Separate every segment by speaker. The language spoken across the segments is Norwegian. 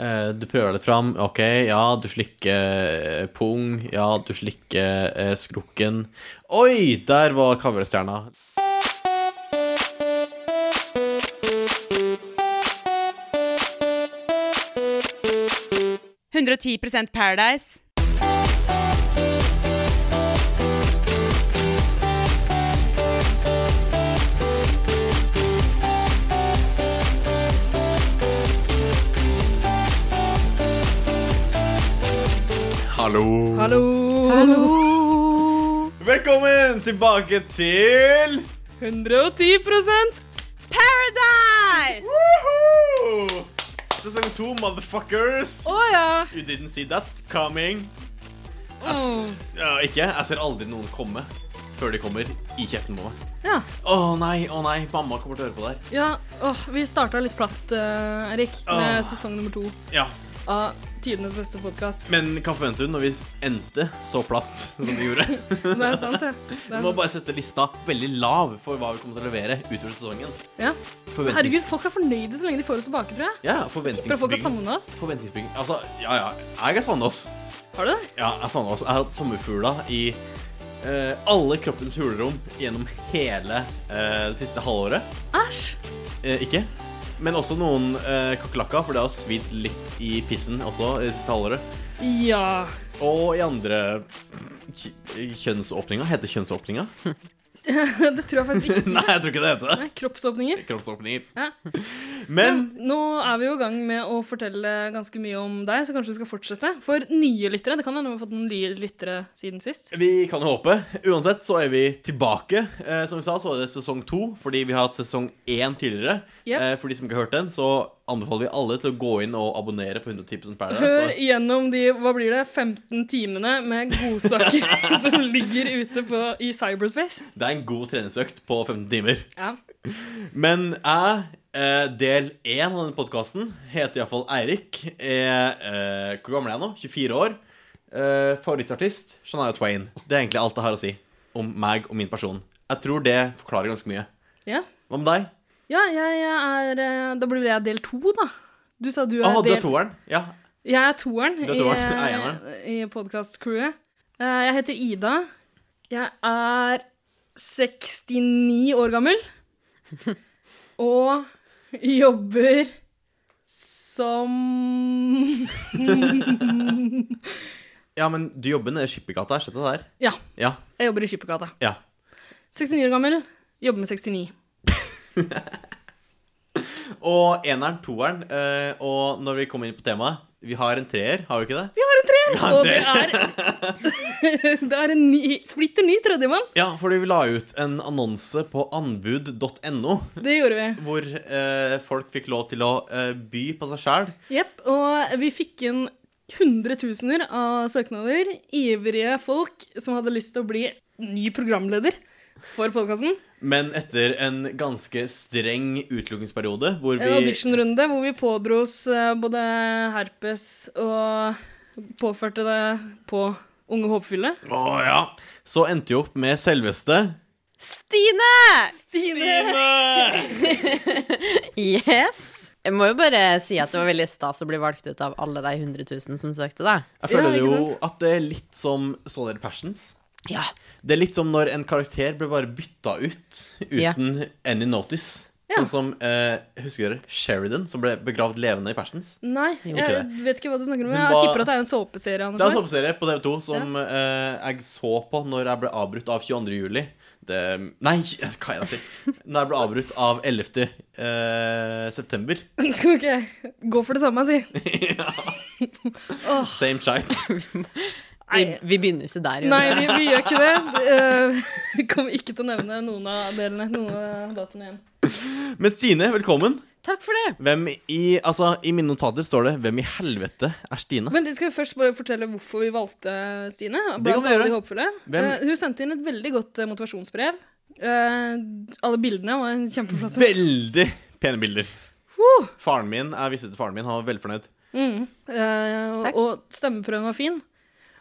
Speaker 1: Eh, Du prøver deg fram. Ok, ja, du slikker eh, pung. Ja, du slikker eh, skrukken. Oi, der var kavrestjerna.
Speaker 2: det. 110 Paradise.
Speaker 1: Hallo.
Speaker 3: Hallo!
Speaker 1: Velkommen tilbake til
Speaker 3: 110
Speaker 2: Paradise!
Speaker 1: Woohoo! Sesong to, motherfuckers.
Speaker 3: Å ja!
Speaker 1: You didn't see that coming.
Speaker 3: Åh.
Speaker 1: Ja, ikke? Jeg ser aldri noen komme før de kommer i kjeften på meg.
Speaker 3: Ja.
Speaker 1: Å nei, å nei, mamma kommer til å høre på det her.
Speaker 3: ja. Åh, vi starta litt platt, eh, Erik, med
Speaker 1: Åh.
Speaker 3: sesong nummer to
Speaker 1: Ja,
Speaker 3: av tidenes beste podkast.
Speaker 1: Men hva forventer du når vi endte så platt som vi gjorde?
Speaker 3: Det er sant, det. det
Speaker 1: Vi
Speaker 3: er
Speaker 1: må
Speaker 3: sant.
Speaker 1: bare sette lista veldig lav for hva vi kommer til å levere utover sesongen.
Speaker 3: Ja.
Speaker 1: Forventnings...
Speaker 3: Herregud, folk er fornøyde så lenge de får oss tilbake, tror jeg.
Speaker 1: Ja,
Speaker 3: Bare folk har
Speaker 1: forventningsbygging.
Speaker 3: savna oss.
Speaker 1: Forventningsbygging. Altså, ja, ja. Jeg har savna oss.
Speaker 3: Har du det?
Speaker 1: Ja, jeg savna oss. Jeg har hatt sommerfugler i eh, alle kroppens hulrom gjennom hele eh, det siste halvåret.
Speaker 3: Æsj!
Speaker 1: Eh, ikke? Men også noen eh, kakerlakker, for det har svidd litt i pissen også det siste halvåret.
Speaker 3: Ja.
Speaker 1: Og i andre kj- kjønnsåpninger. Heter det kjønnsåpninger?
Speaker 3: det tror jeg faktisk ikke.
Speaker 1: Nei, jeg tror ikke det heter det.
Speaker 3: Nei, Kroppsåpninger.
Speaker 1: kroppsåpninger.
Speaker 3: Ja.
Speaker 1: Men
Speaker 3: Nå er vi jo i gang med å fortelle ganske mye om deg, så kanskje vi skal fortsette. For nye lyttere. Det kan hende vi har fått noen nye lyttere siden sist.
Speaker 1: vi kan jo håpe. Uansett så er vi tilbake. Eh, som vi sa, så er det sesong to, fordi vi har hatt sesong én tidligere.
Speaker 3: Yep.
Speaker 1: Eh, for de som ikke har hørt den, så anbefaler vi alle til å gå inn og abonnere på 110 Paradise.
Speaker 3: Hør
Speaker 1: Så-
Speaker 3: gjennom de hva blir det, 15 timene med godsaker som ligger ute på, i cyberspace.
Speaker 1: Det er en god treningsøkt på 15 timer.
Speaker 3: Ja.
Speaker 1: Men jeg, eh, del én av denne podkasten, heter iallfall Eirik. Er, eh, hvor gammel er jeg nå? 24 år. Eh, favorittartist Shania Twain. Det er egentlig alt jeg har å si om meg og min person. Jeg tror det forklarer ganske mye.
Speaker 3: Ja,
Speaker 1: Hva med deg?
Speaker 3: ja jeg, jeg er eh, Da blir jeg del to, da. Du sa du er
Speaker 1: Å, du er
Speaker 3: del
Speaker 1: toeren? Ja.
Speaker 3: Jeg er toeren,
Speaker 1: Du er toeren. Jeg er
Speaker 3: i, i podkast-crewet. Eh, Jeg heter Ida. Jeg er 69 år gammel. Og jobber som
Speaker 1: ja, men du jobber nede i Skippergata, er det der?
Speaker 3: Ja,
Speaker 1: Ja.
Speaker 3: jeg jobber i Skippergata.
Speaker 1: ja.
Speaker 3: 69 år gammel, jobber med 69.
Speaker 1: Og eneren, toeren, eh, og når vi kommer inn på temaet Vi har en treer, har vi ikke det?
Speaker 3: Vi har en treer!
Speaker 1: har en
Speaker 3: Og det er, det er en ny, splitter ny tredjemann.
Speaker 1: Ja, fordi vi la ut en annonse på anbud.no,
Speaker 3: Det gjorde vi.
Speaker 1: hvor eh, folk fikk lov til å eh, by på seg sjæl.
Speaker 3: Jepp, og vi fikk inn hundretusener av søknader. Ivrige folk som hadde lyst til å bli ny programleder for podkasten.
Speaker 1: Men etter en ganske streng utelukkingsperiode, hvor
Speaker 3: En
Speaker 1: vi
Speaker 3: auditionrunde hvor vi pådro oss eh, både herpes og påførte det på unge håpefulle.
Speaker 1: Å ja. Så endte vi opp med selveste
Speaker 4: Stine!
Speaker 3: Stine!
Speaker 1: Stine!
Speaker 4: Yes! Jeg må jo bare si at det var veldig stas å bli valgt ut av alle de 100 000 som søkte, da.
Speaker 1: Jeg
Speaker 3: Ja,
Speaker 1: føler
Speaker 3: ikke
Speaker 1: jo
Speaker 3: sant?
Speaker 1: at det er litt som Så dere Passions?
Speaker 4: Ja.
Speaker 1: Det er litt som når en karakter ble bare bytta ut
Speaker 4: Ja.
Speaker 1: uten any notice.
Speaker 3: Ja.
Speaker 1: Sånn som eh, husker dere Sheridan, som ble begravd levende i Persens.
Speaker 3: Nei, jeg
Speaker 1: Ikke
Speaker 3: vet ikke hva du snakker om.
Speaker 1: Hun
Speaker 3: Jeg
Speaker 1: var-
Speaker 3: tipper at det er en såpeserie. av noe
Speaker 1: Det er en
Speaker 3: slag.
Speaker 1: sommerserie på TV2 som eh, jeg så på når jeg ble avbrutt av 22. juli. Det, nei, hva er det jeg sier? Når jeg ble avbrutt av 11. eh, september.
Speaker 3: Ok, Gå for det samme, si.
Speaker 1: Same shite.
Speaker 4: Vi, vi begynner ikke der. jo.
Speaker 3: Nei, vi, vi gjør ikke det. Det, eh, Vi kommer ikke til å nevne noen av delene, noen av dataene igjen.
Speaker 1: Men Stine, velkommen.
Speaker 4: Takk for det!
Speaker 1: Hvem i Altså, i mine notater står det 'Hvem i helvete er Stine?'
Speaker 3: Men skal vi først bare fortelle hvorfor vi valgte Stine? Blant
Speaker 1: vi gjøre.
Speaker 3: alle de håpefulle.
Speaker 1: Hvem-
Speaker 3: Eh, hun sendte inn et veldig godt eh, motivasjonsbrev. Eh, alle bildene var en kjempeflotte.
Speaker 1: Veldig pene bilder.
Speaker 3: Huh!
Speaker 1: Faren min, Jeg visste til faren min, han var veldig fornøyd.
Speaker 3: Mm. Eh,
Speaker 4: Takk.
Speaker 3: og stemmeprøven var fin.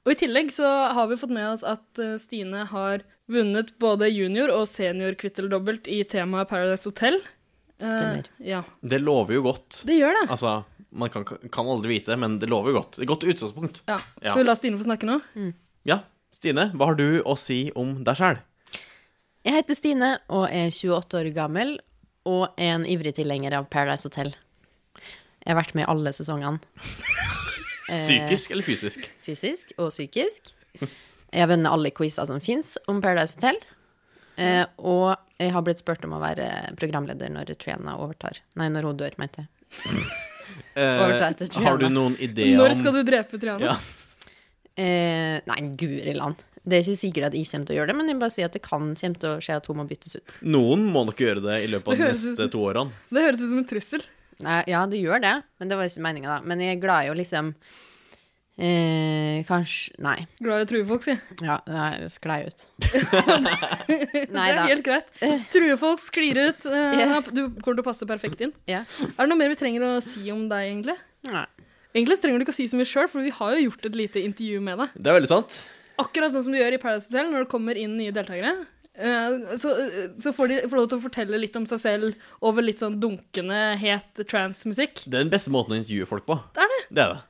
Speaker 3: Og i tillegg så har vi fått med oss at eh, Stine har vunnet både junior- og seniorkvitteldobbelt i temaet Paradise Hotel. Eh,
Speaker 4: Stemmer.
Speaker 3: ja.
Speaker 1: Det lover jo godt.
Speaker 3: Det gjør det.
Speaker 1: Altså, Man kan, kan aldri vite, men det lover godt. Det er et godt utgangspunkt.
Speaker 3: Ja.
Speaker 1: Ja.
Speaker 3: Skal vi la Stine få snakke nå?
Speaker 1: Ja, Stine, hva har du å si om deg sjæl?
Speaker 5: Jeg heter Stine og er 28 år gammel og er en ivrig tilhenger av Paradise Hotel. Jeg har vært med i alle sesongene. Eh,
Speaker 1: Psykisk eller fysisk?
Speaker 5: fysisk og psykisk. Jeg har vunnet alle quizer som fins om Paradise Hotel. Eh, og jeg har blitt spurt om å være programleder når Triana overtar. Nei, når hun dør, mente jeg. overta etter Triana.
Speaker 1: Eh, har du noen ideer om
Speaker 3: Når skal du drepe Triana?
Speaker 1: Ja.
Speaker 5: Eh, nei, guri land. Det er ikke sikkert at jeg kommer til å gjøre det, men jeg bare sier at det kan komme til å skje at hun må byttes ut.
Speaker 1: Noen må nok gjøre det i løpet av
Speaker 3: Det
Speaker 1: de
Speaker 3: høres ut
Speaker 1: neste
Speaker 3: som-
Speaker 1: to årene.
Speaker 3: Det høres ut som en trussel.
Speaker 5: Nei, ja, det gjør det, men det var ikke meninga, da. Men jeg er glad i å liksom eh, Kanskje Nei.
Speaker 3: Glad i å true folk, si.
Speaker 5: Ja, det her sklei ut. nei
Speaker 3: det er
Speaker 5: da.
Speaker 3: helt greit. True folk, sklir ut. eh,
Speaker 5: Ja.
Speaker 3: Du kommer til å passe perfekt inn.
Speaker 5: Ja.
Speaker 3: Er det noe mer vi trenger å si om deg, egentlig?
Speaker 5: Nei.
Speaker 3: Egentlig så trenger du ikke å si så mye sjøl, for vi har jo gjort et lite intervju med deg.
Speaker 1: Det er veldig sant.
Speaker 3: Akkurat sånn som du gjør i Paradise Hotel når det kommer inn nye deltakere. eh, Så, eh, så får de får lov til å fortelle litt om seg selv over litt sånn dunkende, het trance-musikk.
Speaker 1: Det er den beste måten å intervjue folk på.
Speaker 3: Det er det.
Speaker 1: Det er det.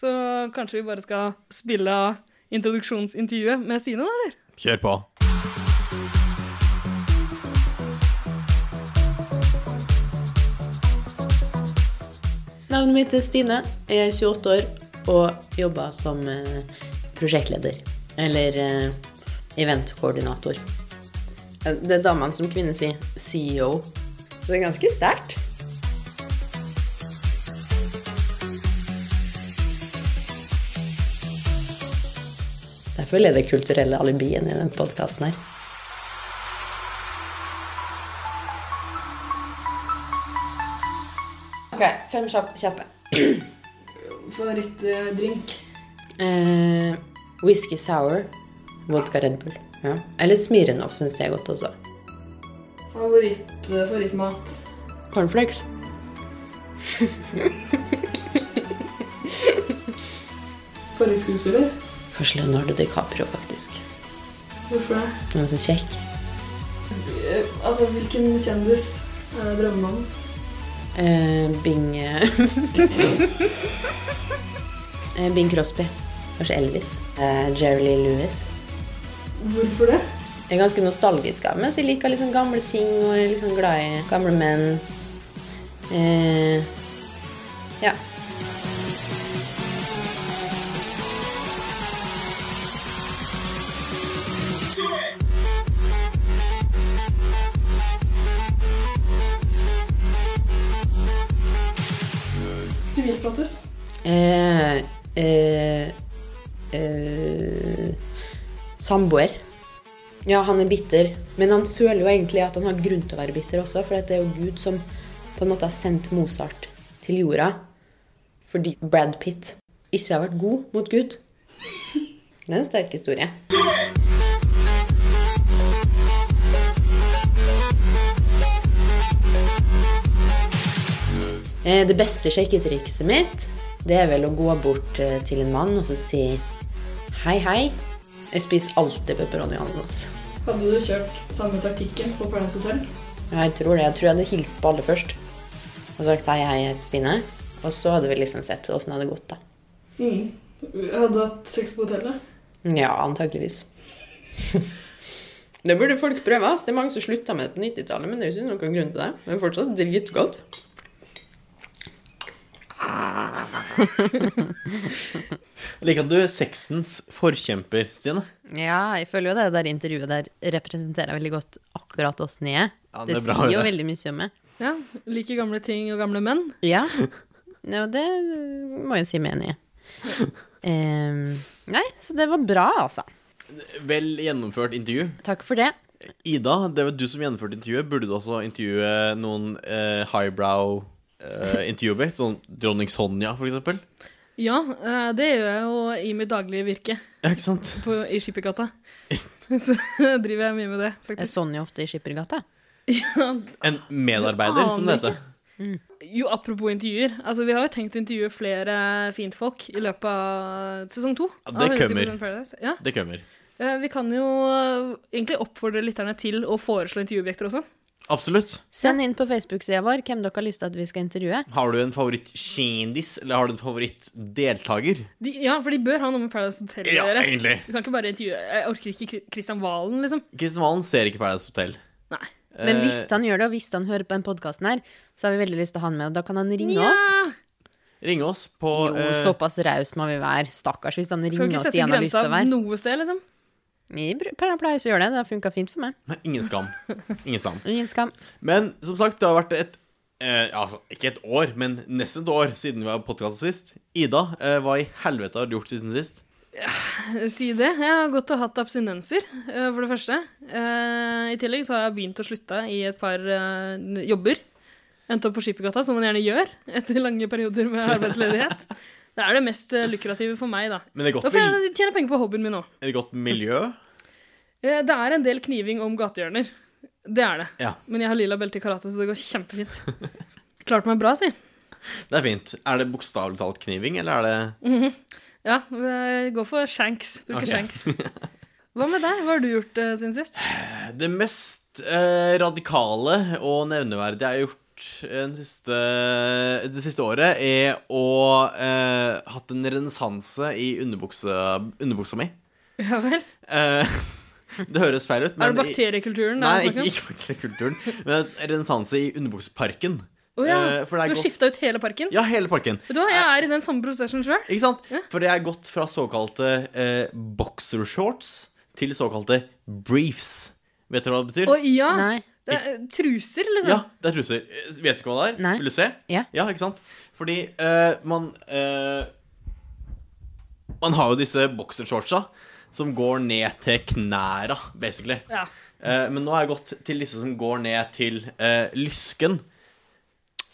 Speaker 3: Så kanskje vi bare skal spille av introduksjonsintervjuet med Sine, da, eller?
Speaker 1: Kjør på.
Speaker 5: Navnet mitt er Stine. Jeg er 28 år og jobber som eh, prosjektleder. Eller eh, eventkoordinator. Eh, Det er damene som kvinner sier CEO. Så det er ganske sterkt. Derfor er det kulturelle alibien i den podkasten her. Ok, fem kjapp- kjappe.
Speaker 3: Favorittdrink?
Speaker 5: Eh, whisky sour, vodka Red Bull. Ja. Eller Smirnoff syns jeg er godt også.
Speaker 3: eh, Favorittmat?
Speaker 5: Cornflakes.
Speaker 3: Favorittskuespiller?
Speaker 5: Kanskje Leonardo DiCaprio, faktisk.
Speaker 3: Hvorfor det?
Speaker 5: Han er så kjekk.
Speaker 3: Altså, hvilken kjendis er drømmemannen?
Speaker 5: Eh, Bing eh, eh, Bing Crosby. Kanskje Elvis. Eh, Jerry Lee Lewis.
Speaker 3: Hvorfor det?
Speaker 5: Jeg er ganske nostalgisk av meg, så jeg liker liksom gamle ting og er liksom glad i gamle menn. Eh, ja.
Speaker 3: Sivilstatus?
Speaker 5: Eh, eh, eh, samboer. Ja, han er bitter, men han føler jo egentlig at han har grunn til å være bitter også, for det er jo Gud som på en måte har sendt Mozart til jorda fordi Brad Pitt ikke har vært god mot Gud. Det er en sterk historie. Eh, Det beste sjekketrikset mitt, det er vel å gå bort eh, til en mann og så si hei, hei. Jeg spiser alltid pepperoni og ananas.
Speaker 3: Hadde du kjørt samme taktikken på Paradise Hotel?
Speaker 5: Ja, jeg tror det. Jeg tror jeg hadde hilst på alle først. Og sagt hei, hei, jeg heter Stine. Og så hadde vi liksom sett åssen det hadde gått, da.
Speaker 3: Mm. Hadde du hatt sex på hotellet?
Speaker 5: Ja, antageligvis. det burde folk prøve. ass. Det er mange som slutta med det på 90-tallet, men det er jo ikke noen grunn til det. Men fortsatt dritgodt.
Speaker 1: Jeg liker at du er sexens forkjemper, Stine.
Speaker 5: Ja, jeg føler jo det der intervjuet der representerer veldig godt akkurat åssen jeg er.
Speaker 1: Ja, det er Det bra å sier jo høre.
Speaker 5: veldig mye om meg.
Speaker 3: Ja. Liker gamle ting og gamle menn.
Speaker 5: Ja. Jo, det må jeg si meg enig i. Ehm, nei, så det var bra, altså.
Speaker 1: Vel gjennomført intervju.
Speaker 5: Takk for det.
Speaker 1: Ida, det var du som gjennomførte intervjuet. Burde du også intervjue noen eh, highbrow eh, intervjuobjekt? Sånn dronning Sonja, for eksempel?
Speaker 3: Ja, eh, det gjør jeg jo i mitt daglige virke
Speaker 1: Ja, ikke sant?
Speaker 3: på, i Skippergata. Så driver jeg mye med det,
Speaker 5: Det er
Speaker 3: faktisk.
Speaker 5: Sonja ofte i Skippergata.
Speaker 3: Ja.
Speaker 1: En medarbeider, som det
Speaker 3: Aner
Speaker 1: heter.
Speaker 3: Jo, apropos intervjuer. Altså, vi har jo tenkt å intervjue flere fintfolk i løpet av sesong to.
Speaker 1: Ja,
Speaker 3: av
Speaker 1: det
Speaker 3: 110% Paradise. Ja.
Speaker 1: Det kommer.
Speaker 3: Eh, Vi kan jo eh, egentlig oppfordre lytterne til å foreslå intervjuobjekter også.
Speaker 1: Absolutt.
Speaker 5: Send inn på Facebook-sida vår hvem dere har lyst til at vi skal intervjue.
Speaker 1: Har du en favorittkjendis, eller har du en favorittdeltaker?
Speaker 3: De, ja, for de bør ha noe med Paradise Hotel å
Speaker 1: Ja,
Speaker 3: gjøre.
Speaker 1: egentlig.
Speaker 3: Du kan ikke bare intervjue Jeg orker ikke Kri- Christian Valen, liksom.
Speaker 1: Kristian Valen ser ikke Paradise Hotel.
Speaker 3: Nei.
Speaker 1: Eh,
Speaker 5: Men hvis han gjør det, og hvis han hører på den podkasten her, så har vi veldig lyst til å ha han med, og da kan han ringe oss.
Speaker 3: Nja.
Speaker 1: Ringe oss på
Speaker 5: Jo,
Speaker 1: eh,
Speaker 5: såpass raus må vi være. Stakkars hvis han
Speaker 3: Skal
Speaker 5: ringer
Speaker 3: ikke
Speaker 5: og
Speaker 3: sette
Speaker 5: sier han har lyst
Speaker 3: grensa
Speaker 5: til å være.
Speaker 3: noe sted, liksom.
Speaker 5: Vi br- pleier å gjøre det. Det har funka fint for meg.
Speaker 1: Nei, ingen skam. Ingen skam.
Speaker 5: Ingen skam.
Speaker 1: Men som sagt, det har vært et eh, altså, Ikke et år, men nesten et år siden vi var på podkast sist. Ida, eh, hva i helvete har du gjort siden sist?
Speaker 3: Si det. Jeg har gått og hatt abstinenser, eh, for det første. Eh, I tillegg så har jeg begynt å slutte i et par eh, n- jobber. Endte opp på Skippergata, som man gjerne gjør etter lange perioder med arbeidsledighet. Det er det mest eh, lukrative for meg, da.
Speaker 1: Men det er
Speaker 3: Da
Speaker 1: godt,
Speaker 3: får
Speaker 1: mil
Speaker 3: jeg tjene penger på hobbyen min òg.
Speaker 1: er det godt miljø.
Speaker 3: Eh, Det er en del kniving om gatehjørner. Det er det.
Speaker 1: Ja.
Speaker 3: Men jeg har lilla belte i karate, så det går kjempefint. Klarte meg bra, si.
Speaker 1: Det er fint. Er det bokstavelig talt kniving, eller er det
Speaker 3: Ja, eh, gå for shanks. Bruker
Speaker 1: Ok.
Speaker 3: shanks. Hva med deg? Hva har du gjort eh, siden sist?
Speaker 1: Det mest eh, radikale og nevneverdige jeg har gjort eh, den siste, det siste året, er å eh, hatt en renessanse i underbuksa, underbuksa mi.
Speaker 3: Ja vel?
Speaker 1: Eh, det høres feil ut, men
Speaker 3: er det bakteriekulturen?
Speaker 1: Nei, ikke,
Speaker 3: det er snakk om?
Speaker 1: ikke bakteriekulturen, men en renessanse i underbukseparken.
Speaker 3: Å ja.
Speaker 1: Eh, for det er
Speaker 3: Du har
Speaker 1: godt-
Speaker 3: skifta ut hele parken?
Speaker 1: Ja, hele parken.
Speaker 3: Vet du hva, jeg er i den samme prosessen sjøl.
Speaker 1: Ikke sant?
Speaker 3: Ja.
Speaker 1: For det er gått fra såkalte eh, boxershorts til såkalte briefs. Vet dere hva det betyr?
Speaker 3: Og ja,
Speaker 5: Nei.
Speaker 3: det er eh, truser, liksom.
Speaker 1: Ja, det er truser. Eh, Vet du ikke hva det er?
Speaker 5: Nei.
Speaker 1: Vil du se?
Speaker 5: Ja.
Speaker 1: ikke sant? Fordi eh, man eh, Man har jo disse boksershortsa som går ned til knæra, basically.
Speaker 3: Ja.
Speaker 1: Eh, men nå har jeg gått til disse som går ned til eh, lysken.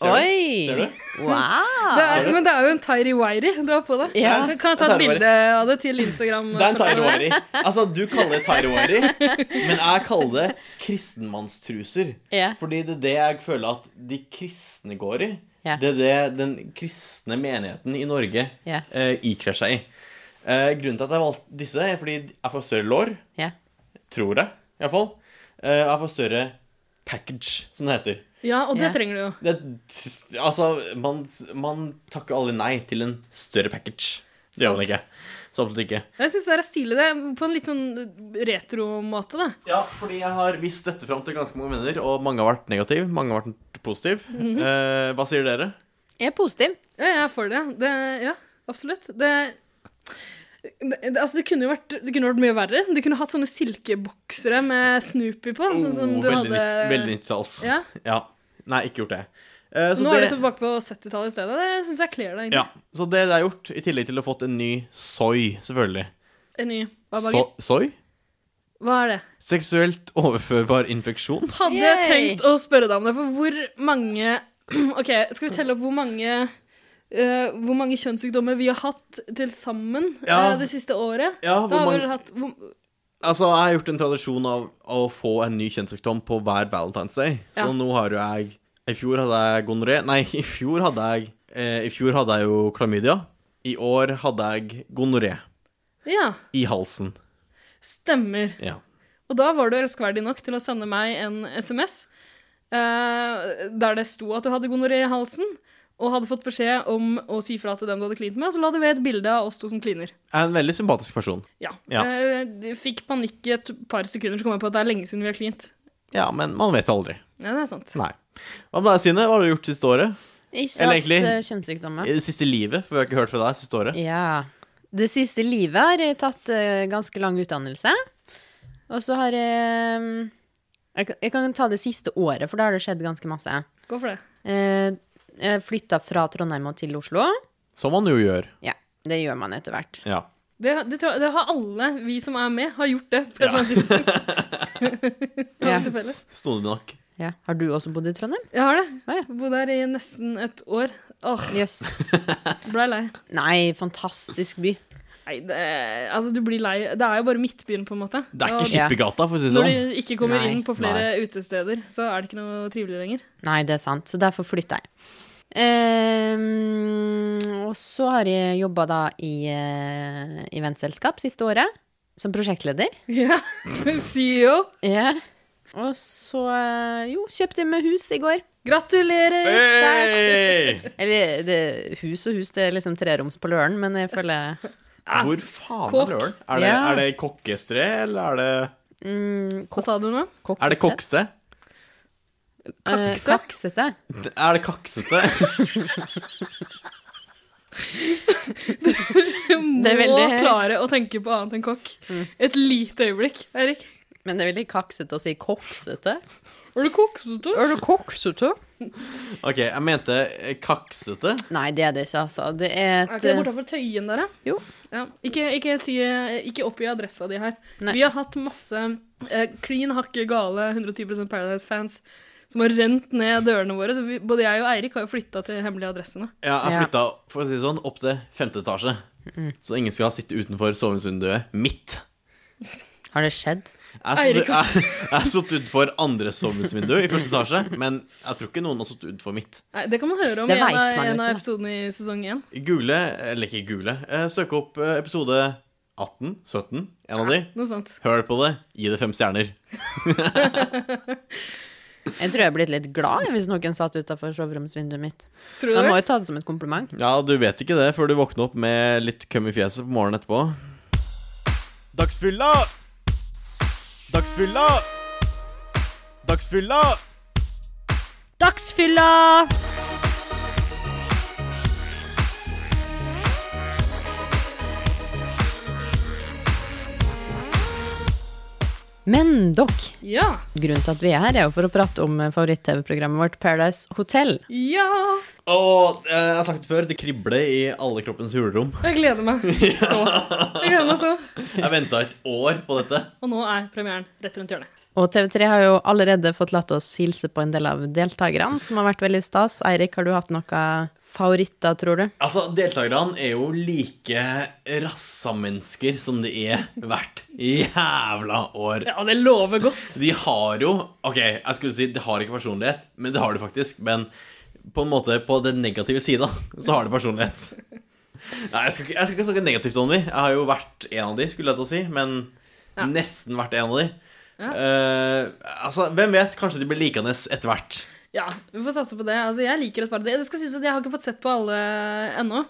Speaker 5: Oi!
Speaker 1: Du? Ser du?
Speaker 5: Wow!
Speaker 3: Det er, men det er jo en Tiry Wiry du har på deg.
Speaker 5: Ja.
Speaker 3: Kan jeg ta
Speaker 1: En
Speaker 3: et
Speaker 1: Tiry Wiry.
Speaker 3: bilde av det til Instagram?
Speaker 1: Det er en tairowari. Altså, du kaller det tairowari, men jeg kaller det kristenmannstruser.
Speaker 5: Ja.
Speaker 1: Fordi det er det jeg føler at de kristne går i.
Speaker 5: Ja.
Speaker 1: Det er det den kristne menigheten i Norge
Speaker 5: Ja.
Speaker 1: eh, ikler seg i. Eh, grunnen til at jeg valgte disse, er fordi jeg får større lår.
Speaker 5: Ja.
Speaker 1: Tror jeg, iallfall. Eh, jeg får større package, som det heter.
Speaker 3: Ja, og det
Speaker 5: Ja.
Speaker 3: trenger du jo.
Speaker 1: Det, altså, man, man takker aldri nei til en større package. Det gjør man ikke. Så absolutt ikke.
Speaker 3: Jeg syns det er stilig, det. På en litt sånn retro-måte, da.
Speaker 1: Ja, fordi jeg har vist dette fram til ganske mange venner, og mange har vært negative, mange har vært positive.
Speaker 3: Mhm.
Speaker 1: eh, hva sier dere?
Speaker 5: Jeg er positiv.
Speaker 3: Ja, jeg er for det. det ja, absolutt. Det, det, det, altså, det, kunne jo vært, det kunne vært mye verre. Du kunne hatt sånne silkeboksere med Snoopy på. sånn som
Speaker 1: Oh,
Speaker 3: du
Speaker 1: veldig
Speaker 3: hadde...
Speaker 1: nytt- veldig 90-talls.
Speaker 3: Ja.
Speaker 1: Nei, ikke gjort det. Eh, så
Speaker 3: Nå er
Speaker 1: det-
Speaker 3: du tilbake på 70-tallet i stedet. Det syns jeg kler deg. egentlig.
Speaker 1: ja, så det det er gjort, i tillegg til å ha fått en ny soy, selvfølgelig.
Speaker 3: En ny barbager.
Speaker 1: So soy?
Speaker 3: Hva er det?
Speaker 1: Seksuelt overførbar infeksjon?
Speaker 3: Hadde
Speaker 5: Yay!
Speaker 3: jeg tenkt å spørre deg om det, for hvor mange Ok, skal vi telle opp hvor mange eh, hvor mange kjønnssykdommer vi har hatt til sammen
Speaker 1: Ja.
Speaker 3: eh, det siste året?
Speaker 1: Ja, hvor
Speaker 3: da har vi
Speaker 1: mange-
Speaker 3: vel hatt hvor,
Speaker 1: Altså, jeg har gjort en tradisjon av å få en ny kjønnssykdom på hver Valentine's Day. Så
Speaker 3: Ja.
Speaker 1: nå har jo jeg I fjor hadde jeg gonoré. Nei, i fjor hadde jeg, eh, i fjor hadde jeg jo klamydia. I år hadde jeg gonoré.
Speaker 3: Ja,
Speaker 1: I halsen.
Speaker 3: stemmer.
Speaker 1: Ja.
Speaker 3: Og da var du elskverdig nok til å sende meg en SMS eh, der det sto at du hadde gonoré i halsen, og hadde fått beskjed om å si fra til dem du hadde klint med, og så la du ved et bilde av oss to som kliner.
Speaker 1: Jeg er en veldig sympatisk person.
Speaker 3: Ja.
Speaker 1: Ja.
Speaker 3: Eh, du fikk panikk i et par sekunder, så kom jeg på at det er lenge siden vi har klint.
Speaker 1: Ja, men man vet aldri.
Speaker 3: Ja, det er sant.
Speaker 1: Nei. Hva med deg, Sine? Hva har du gjort siste året?
Speaker 5: Ikke
Speaker 1: Eller
Speaker 5: hatt
Speaker 1: egentlig-
Speaker 5: eh, kjønnssykdommer.
Speaker 1: I det siste livet? For vi har ikke hørt fra deg siste året.
Speaker 5: Ja. Det siste livet har jeg tatt eh, ganske lang utdannelse. Og så har jeg mm, jeg kan- Jeg kan ta det siste året, for da har det skjedd ganske masse.
Speaker 3: Gå for det.
Speaker 5: Eh, Jeg flytta fra Trondheim og til Oslo.
Speaker 1: Som man jo gjør.
Speaker 5: Ja, det gjør man etter hvert.
Speaker 1: Ja.
Speaker 3: Det, det, tror jeg- det har alle vi som er med, har gjort det på et
Speaker 1: Ja.
Speaker 3: eller annet tidspunkt. Det
Speaker 5: Ja.
Speaker 3: er til felles.
Speaker 1: Snodig nok.
Speaker 5: Ja. Har du også bodd i Trondheim?
Speaker 3: Jeg har det.
Speaker 5: Å, ja.
Speaker 3: Bodd her i nesten et år. Åh,
Speaker 5: Jøss.
Speaker 3: blei lei.
Speaker 5: Nei, fantastisk by.
Speaker 3: Nei, det, altså du blir lei. Det er jo bare midtbyen, på en måte.
Speaker 1: Det er
Speaker 3: Og
Speaker 1: ikke Skippergata, for å si det
Speaker 3: Når
Speaker 1: sånn.
Speaker 3: de ikke kommer
Speaker 5: Nei,
Speaker 3: inn på flere utesteder, så er det ikke noe trivelig lenger.
Speaker 5: Nei, det er sant. Så derfor flytta jeg. Ehm, og så har jeg jobba da i uh,
Speaker 3: E
Speaker 5: eventselskap siste året, som prosjektleder.
Speaker 3: Ja, CEO.
Speaker 5: Ja. Og så eh, Jo, kjøpte jeg meg hus i går.
Speaker 3: Gratulerer!
Speaker 1: Hey!
Speaker 5: Eller det, hus og hus, det er liksom treroms på Løren, men jeg føler
Speaker 1: Hvor faen
Speaker 3: Kokk.
Speaker 1: er løren? Er det,
Speaker 5: Ja.
Speaker 1: er det kokkestre, eller er det,
Speaker 5: mm,
Speaker 3: Hva sa du nå?
Speaker 1: er det kokse?
Speaker 5: Kakse?
Speaker 3: Kakse?
Speaker 5: kaksete.
Speaker 1: Er det kaksete?
Speaker 3: Du må
Speaker 5: Det er veldig- Mm.
Speaker 3: klare å tenke på annet enn kokk. Et lite øyeblikk, Eirik.
Speaker 5: Men det er veldig kaksete å si koksete.
Speaker 3: Var du koksete?
Speaker 5: Er du koksete?
Speaker 1: Ok, jeg mente eh, kaksete.
Speaker 5: Nei, det er det ikke, altså. Det er et
Speaker 3: Er ikke det bortafor Tøyen der, da?
Speaker 5: Jo.
Speaker 3: Ja. Ikke, ikke, si, eh, ikke oppgi adressa di her.
Speaker 5: Nei.
Speaker 3: Vi har hatt masse eh, klin hakke gale 110 Paradise-fans som har rent ned dørene våre. Så vi, både jeg og Eirik har jo flytta til hemmelige adressene.
Speaker 1: Ja, jeg
Speaker 5: Ja.
Speaker 1: flytta for å si det sånn, opp til femte etasje. Så ingen skal sitte utenfor sovevinduet mitt.
Speaker 5: eh, Har det skjedd?
Speaker 1: Jeg
Speaker 3: Eirik, ass.
Speaker 1: har sittet utenfor andre sovevindu i første etasje, men jeg tror ikke noen har sittet utenfor mitt.
Speaker 3: Nei, det kan man høre om i
Speaker 5: Det
Speaker 3: en,
Speaker 5: vet
Speaker 3: av-
Speaker 5: man
Speaker 3: en av
Speaker 5: liksom.
Speaker 3: episodene i sesong én.
Speaker 1: Google, eller ikke google, eh, søk opp eh, episode 18, 17, en av de.
Speaker 3: Noe sånt.
Speaker 1: Hør på det, gi det fem stjerner.
Speaker 5: Jeg tror jeg er blitt litt glad hvis noen satt utafor soveromsvinduet mitt.
Speaker 3: Tror du
Speaker 5: Man må
Speaker 3: det?
Speaker 5: jo ta det som et kompliment.
Speaker 1: Ja, du vet ikke det før du våkner opp med litt køm i fjeset på morgenen etterpå. Dagsfylla! Dagsfylla! Dagsfylla!
Speaker 2: Dagsfylla!
Speaker 5: Men dokk,
Speaker 3: Ja.
Speaker 5: grunnen til at vi er her, er jo for å prate om eh, favoritt-TV-programmet vårt Paradise Hotel.
Speaker 3: Ja.
Speaker 1: Og eh, jeg har sagt det før, det kribler i alle kroppens hulrom.
Speaker 3: Jeg gleder meg så. Jeg gleder meg så.
Speaker 1: Jeg venta et år på dette.
Speaker 3: Og nå er premieren rett rundt hjørnet.
Speaker 5: Og TV3 har jo allerede fått latt oss hilse på en del av deltakerne, som har vært veldig stas. Eirik, har du hatt noen favoritter, tror du?
Speaker 1: Altså, Deltakerne er jo like rassa mennesker som de er hvert jævla år.
Speaker 3: Ja, det lover godt.
Speaker 1: De har jo Ok, jeg skulle si de har ikke personlighet, men det har de faktisk. Men på en måte på den negative sida så har de personlighet. Nei, jeg skal, ikke, jeg skal ikke snakke negativt om de. Jeg har jo vært en av de, skulle jeg til å si. Men
Speaker 3: Ja.
Speaker 1: nesten vært en av de.
Speaker 3: Ja.
Speaker 1: Eh, altså, hvem vet? Kanskje de blir likende etter hvert.
Speaker 3: Ja, vi får satse på det. Altså, jeg liker et par det. det skal sies at Jeg har ikke fått sett på alle ennå.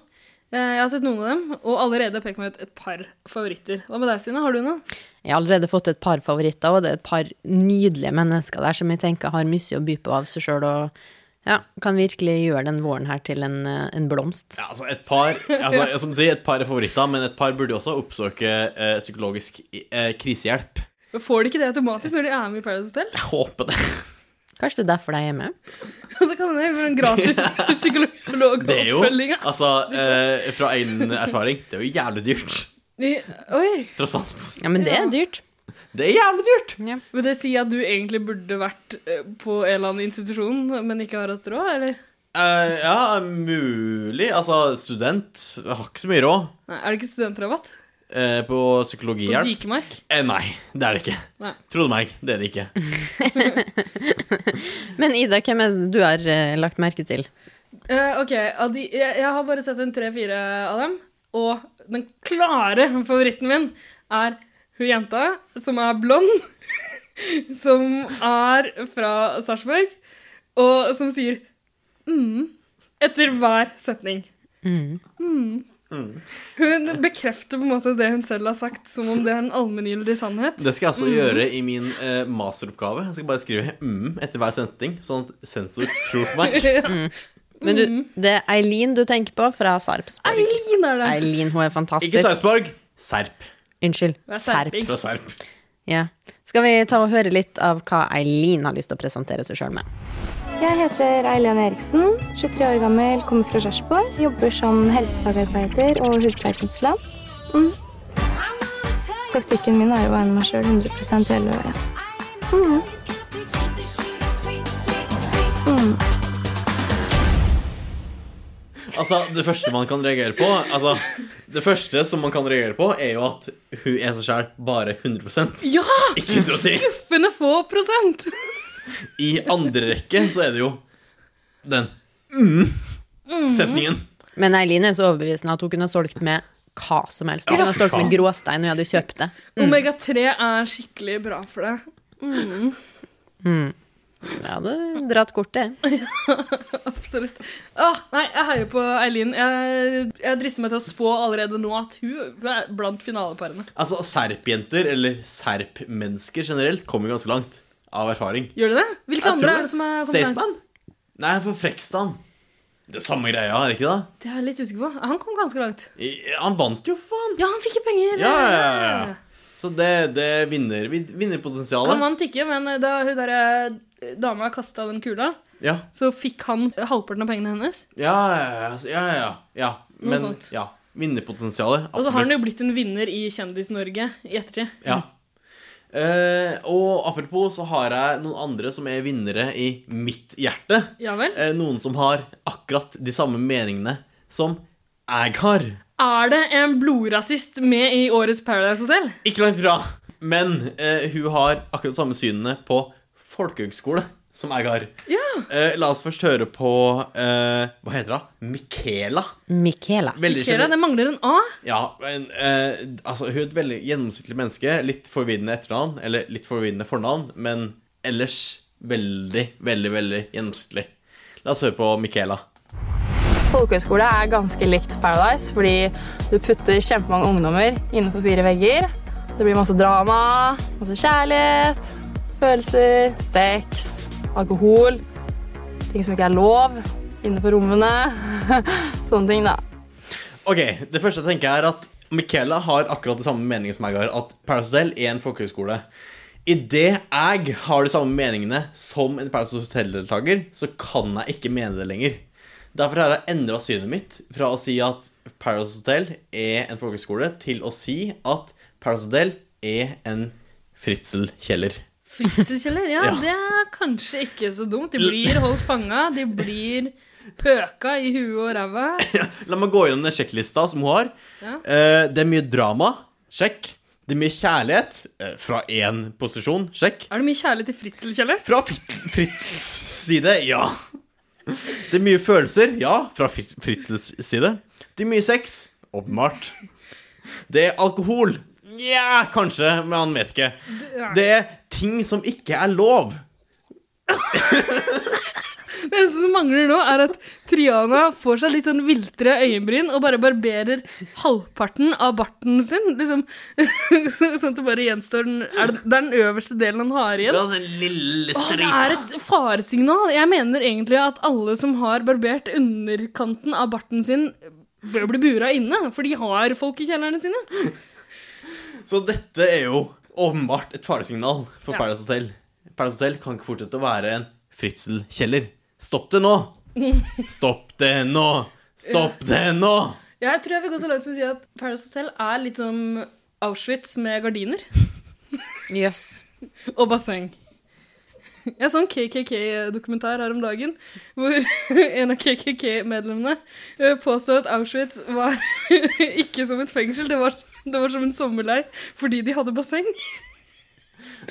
Speaker 3: Eh, Jeg har sett noen av dem, og allerede peker meg ut et par favoritter. Hva med deg, Sine? Har du noen?
Speaker 5: Jeg har allerede fått et par favoritter, og det er et par nydelige mennesker der som jeg tenker har mye å by på av seg sjøl, og ja, kan virkelig gjøre den våren her til en, eh, en blomst.
Speaker 1: Ja, altså et par altså, Som du sier, et par er favoritter, men et par burde jo også oppsøke eh, psykologisk eh, krisehjelp.
Speaker 3: Får de ikke det automatisk når de er med i Paradise Hotel?
Speaker 1: Jeg håper det.
Speaker 5: Kanskje det er derfor de er med?
Speaker 3: Det kan hende. for en Gratis
Speaker 1: Det er jo
Speaker 3: psykologoppfølging. ja.
Speaker 1: Altså, eh, fra egen erfaring, det er jo jævlig dyrt.
Speaker 3: De- Oi.
Speaker 1: Tross alt.
Speaker 5: Ja, men det
Speaker 3: Ja.
Speaker 5: er dyrt.
Speaker 1: Det er jævlig dyrt!
Speaker 3: Vil det si at du egentlig burde vært eh, på en eller annen institusjon, men ikke har hatt råd, eller?
Speaker 1: Eh, ja, mulig. Altså, student jeg har ikke så mye råd
Speaker 3: Nei, Er det ikke studentrabatt?
Speaker 1: eh, på
Speaker 3: På
Speaker 1: psykologihjelp.
Speaker 3: Dikemark?
Speaker 1: Eh, nei, det er det ikke.
Speaker 3: Nei.
Speaker 1: Tro det meg, det er det ikke.
Speaker 5: Men Ida, hvem er det du har eh, lagt merke til?
Speaker 3: Eh, ok, av de, jeg, jeg har bare sett en tre-fire av dem, og den klare favoritten min er hun jenta som er blond, som er fra Sarpsborg, og som sier mm etter hver setning.
Speaker 5: Mm.
Speaker 3: Hun bekrefter på en måte det hun selv har sagt, som om det er en allmenngyldig sannhet.
Speaker 1: Det skal jeg altså gjøre i min eh, masteroppgave. Jeg skal bare skrive mm etter hver sending, sånn at sensor tror på meg.
Speaker 3: Ja.
Speaker 5: Men du, det er Eileen du tenker på fra
Speaker 3: Mm.
Speaker 5: Sarpsborg.
Speaker 3: Eileen er det.
Speaker 5: Eileen, hun er
Speaker 1: Ikke
Speaker 5: fantastisk.
Speaker 1: Sarpsborg. Serp.
Speaker 5: Unnskyld.
Speaker 3: Det er
Speaker 5: Serp.
Speaker 3: serping.
Speaker 1: Fra Serp.
Speaker 5: Ja. Skal vi ta og høre litt av hva Eileen har lyst til å presentere seg sjøl med?
Speaker 6: Jeg heter Eileen Eriksen, 23 år gammel, kommer fra Sarpsborg. Jobber som helsefagarbeider og hudpleiekonsulent. Mm. Taktikken min er jo å være meg sjøl 100 hele året. Mm. Mm.
Speaker 1: Altså, det første man kan reagere på Altså, det første som man kan reagere på, er jo at hun er seg sjæl bare 100
Speaker 3: Ja!
Speaker 1: Ikke 110
Speaker 3: Funnet få prosent!
Speaker 1: I andre rekke så er det jo den
Speaker 3: Mm.
Speaker 1: mm-setningen.
Speaker 5: Men Eileen er så overbevisende at hun kunne ha solgt med hva som helst. Hun
Speaker 1: Ja,
Speaker 5: kunne ha solgt med
Speaker 1: faen.
Speaker 5: Mm. gråstein, og jeg hadde kjøpt det.
Speaker 3: Omega-3 er skikkelig bra for deg.
Speaker 5: Jeg hadde dratt kortet.
Speaker 3: Absolutt. Åh, nei, jeg heier på Eileen. Jeg, jeg drister meg til å spå allerede nå at hun er blant finaleparene.
Speaker 1: Altså, serpjenter, eller serpmennesker generelt, kommer ganske langt av erfaring.
Speaker 3: Gjør de det? Hvilke
Speaker 1: Jeg tror
Speaker 3: andre er det som er kommet langt?
Speaker 1: Staysman? Nei, for Frekstan. Det er samme greia, er det ikke det?
Speaker 3: Det er jeg litt usikker på. Han kom ganske langt.
Speaker 1: I- Han vant jo, faen!
Speaker 3: Ja, han fikk jo penger!
Speaker 1: Ja, ja, ja, ja. Så det, det vinner, vin-
Speaker 3: Han
Speaker 1: vinnerpotensialet.
Speaker 3: vant ikke, men da hun der eh, dama kasta den kula,
Speaker 1: Ja,
Speaker 3: så fikk han halvparten av pengene hennes.
Speaker 1: ja, ja, ja, ja, ja, ja.
Speaker 3: Noe
Speaker 1: Men,
Speaker 3: sånt.
Speaker 1: ja. Vinnerpotensialet,
Speaker 3: Og så har han jo
Speaker 1: absolutt.
Speaker 3: blitt en vinner i Kjendis-Norge i ettertid.
Speaker 1: Ja. Eh, og apropos, så har jeg noen andre som er vinnere i mitt hjerte.
Speaker 3: Ja vel?
Speaker 1: Eh, noen som har akkurat de samme meningene som jeg har.
Speaker 3: Er det en blodrasist med i årets Paradise Hotel?
Speaker 1: Ikke langt fra. Men eh, hun har akkurat samme synene på folkehøgskole som jeg har. Eh, la oss først høre på eh, Hva heter hun? Michaela.
Speaker 5: Michaela.
Speaker 1: Veldig
Speaker 3: Kera,
Speaker 1: gener-
Speaker 3: det mangler en A.
Speaker 1: Ja, men eh, altså, Hun er et veldig gjennomsnittlig menneske. Litt forvirrende etternavn, eller litt forvirrende fornavn, men ellers veldig, veldig, veldig gjennomsnittlig. La oss høre på Michaela.
Speaker 7: Folkehøyskole er ganske likt Paradise, fordi du putter kjempemange ungdommer innenfor fire vegger. Det blir masse drama, masse kjærlighet, følelser, sex, alkohol, ting som ikke er lov inne på rommene. Sånne ting, da.
Speaker 1: Ok, det første jeg tenker er at Michaela har akkurat det samme meningen som jeg har, at Paradise Hotel er en folkehøyskole. I det jeg har de samme meningene som en Paradise Hotel-deltaker, så kan jeg ikke mene det lenger. Derfor har jeg endra synet mitt fra å si at Paradise Hotel er en folkehøyskole, til å si at Paradise Hotel er en fritzelkjeller.
Speaker 3: Fritzelkjeller, ja,
Speaker 1: Ja.
Speaker 3: Det er kanskje ikke så dumt. De blir holdt fanga. De blir pøka i huet og ræva.
Speaker 1: La meg gå gjennom den sjekklista som hun har.
Speaker 3: Ja.
Speaker 1: Eh, det er mye drama. Sjekk. Det er mye kjærlighet eh, fra én posisjon. Sjekk.
Speaker 3: Er det mye kjærlighet til fritzelkjeller?
Speaker 1: Fra Frit- Fritzels side, ja. Det er mye følelser, ja. Fra Frit- Fritzels side. Det er mye sex, åpenbart. Det er alkohol. Nja, kanskje, men han vet ikke. Det er ting som ikke er lov.
Speaker 3: Det eneste som mangler nå, er at Triana får seg litt sånn viltre øyenbryn og bare barberer halvparten av barten sin. Liksom, sånn at det bare gjenstår den, er det, det er den øverste delen han har igjen.
Speaker 1: den lille
Speaker 3: Åh, det er et faresignal. Jeg mener egentlig at alle som har barbert underkanten av barten sin, bør bli bura inne, for de har folk i kjellerne sine.
Speaker 1: Så dette er jo åpenbart et faresignal for
Speaker 3: Ja.
Speaker 1: Paradise Hotel. Paradise Hotel kan ikke fortsette å være en fritzelkjeller. Stopp det nå! Stopp det nå! Stopp det nå!
Speaker 3: Jeg tror jeg vil gå så langt som å si at Paradise Hotel er litt som Auschwitz med gardiner
Speaker 5: Jøss.
Speaker 3: og basseng. Jeg så en KKK-dokumentar her om dagen, hvor en av KKK-medlemmene eh, påstod at Auschwitz var ikke som et fengsel, det var, det var som en sommerleir fordi de hadde basseng.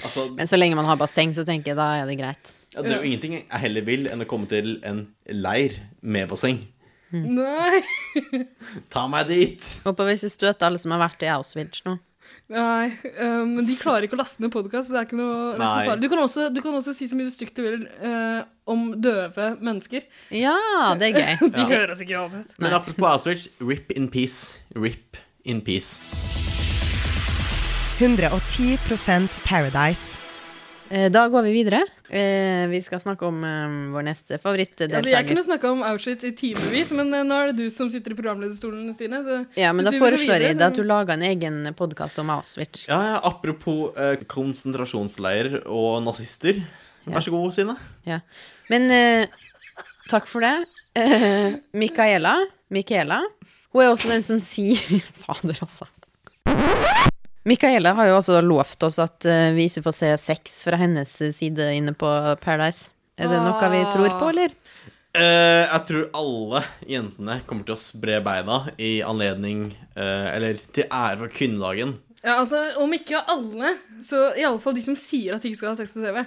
Speaker 1: Altså,
Speaker 5: Men så lenge man har basseng, så tenker jeg da er det greit.
Speaker 1: Ja, det er jo ingenting jeg heller vil enn å komme til en leir med basseng.
Speaker 3: Nei.
Speaker 1: Ta meg dit!
Speaker 5: Håper hvis jeg støter alle som har vært i Auschwitz nå.
Speaker 3: Nei, eh, men de klarer ikke å laste ned podkast, så det er ikke noe, det er ikke
Speaker 1: Nei.
Speaker 3: så farlig. Du kan, også, du kan også si så mye stygt du vil eh, om døve mennesker.
Speaker 5: Ja, det er gøy.
Speaker 3: De hører oss ikke uansett.
Speaker 1: Men apropos Auschwitz, rip in peace. Rip in peace.
Speaker 8: 110 Paradise.
Speaker 5: Eh, Da går vi videre. Eh, Vi skal snakke om eh, vår
Speaker 3: Altså,
Speaker 5: neste
Speaker 3: jeg
Speaker 5: favorittdeltaker.
Speaker 3: kunne snakka om Auschwitz i timevis, men eh, nå er det du som sitter i programlederstolen, Stine. Så
Speaker 5: Ja, men
Speaker 3: hvis
Speaker 5: da
Speaker 3: du vil gå
Speaker 5: foreslår
Speaker 3: videre,
Speaker 5: jeg deg
Speaker 3: så-
Speaker 5: at du lager en egen podkast om Auschwitz.
Speaker 1: Ja, ja, apropos eh, konsentrasjonsleirer og nazister. Vær så god, Sine.
Speaker 5: Ja. Men eh, takk for det. Eh, Micaela. Micaela. Hun er også den som sier Fader, altså. Micaela har jo også lovt oss at eh, vi ikke får se sex fra hennes side inne på Paradise. Er det noe vi tror på, eller?
Speaker 1: Eh, jeg tror alle jentene kommer til å spre beina i anledning eh, Eller til ære for kvinnedagen.
Speaker 3: Ja, altså, Om ikke alle, så iallfall de som sier at de ikke skal ha sex på CV.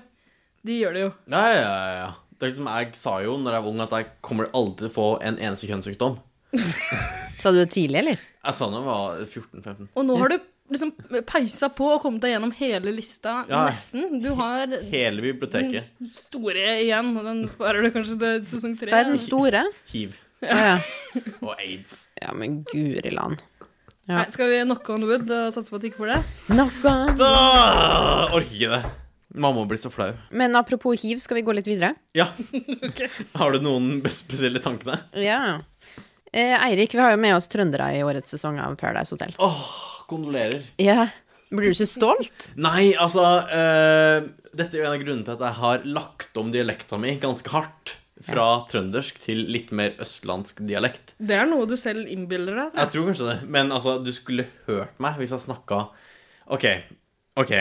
Speaker 3: De gjør det jo.
Speaker 1: Ja, ja, ja, ja. Det er liksom jeg sa jo når jeg var ung, at jeg kommer aldri til å få en eneste kjønnssykdom.
Speaker 5: Sa du det tidlig, eller?
Speaker 1: Jeg sa da jeg var 14-15.
Speaker 3: Og nå har du liksom peisa på og kommet deg gjennom hele lista,
Speaker 1: Ja.
Speaker 3: nesten. Du har den
Speaker 1: Hele biblioteket.
Speaker 3: s- store igjen, og den sparer du kanskje til sesong tre.
Speaker 5: Hva er den store?
Speaker 1: Hiv
Speaker 5: Å ja.
Speaker 1: og aids.
Speaker 5: ja, men guri land.
Speaker 3: Nei, skal vi knocke on wood og satse på at du ikke får det?
Speaker 5: Knock on.
Speaker 1: Da orker ikke det. Mamma blir så flau.
Speaker 5: Men apropos hiv, skal vi gå litt videre?
Speaker 1: Ja. Har du noen spesielle tankene?
Speaker 5: Ja. Eh, Eirik, vi har jo med oss trøndere i årets sesong av Paradise Hotel.
Speaker 1: Åh, kondolerer.
Speaker 5: Ja. Blir du så stolt?
Speaker 1: Nei, altså eh, Dette er jo en av grunnene til at jeg har lagt om dialekta mi ganske hardt. Fra trøndersk til litt mer østlandsk dialekt.
Speaker 3: Det er noe du selv innbiller deg.
Speaker 1: Jeg tror kanskje det, men altså, du skulle hørt meg hvis jeg snakka OK, OK.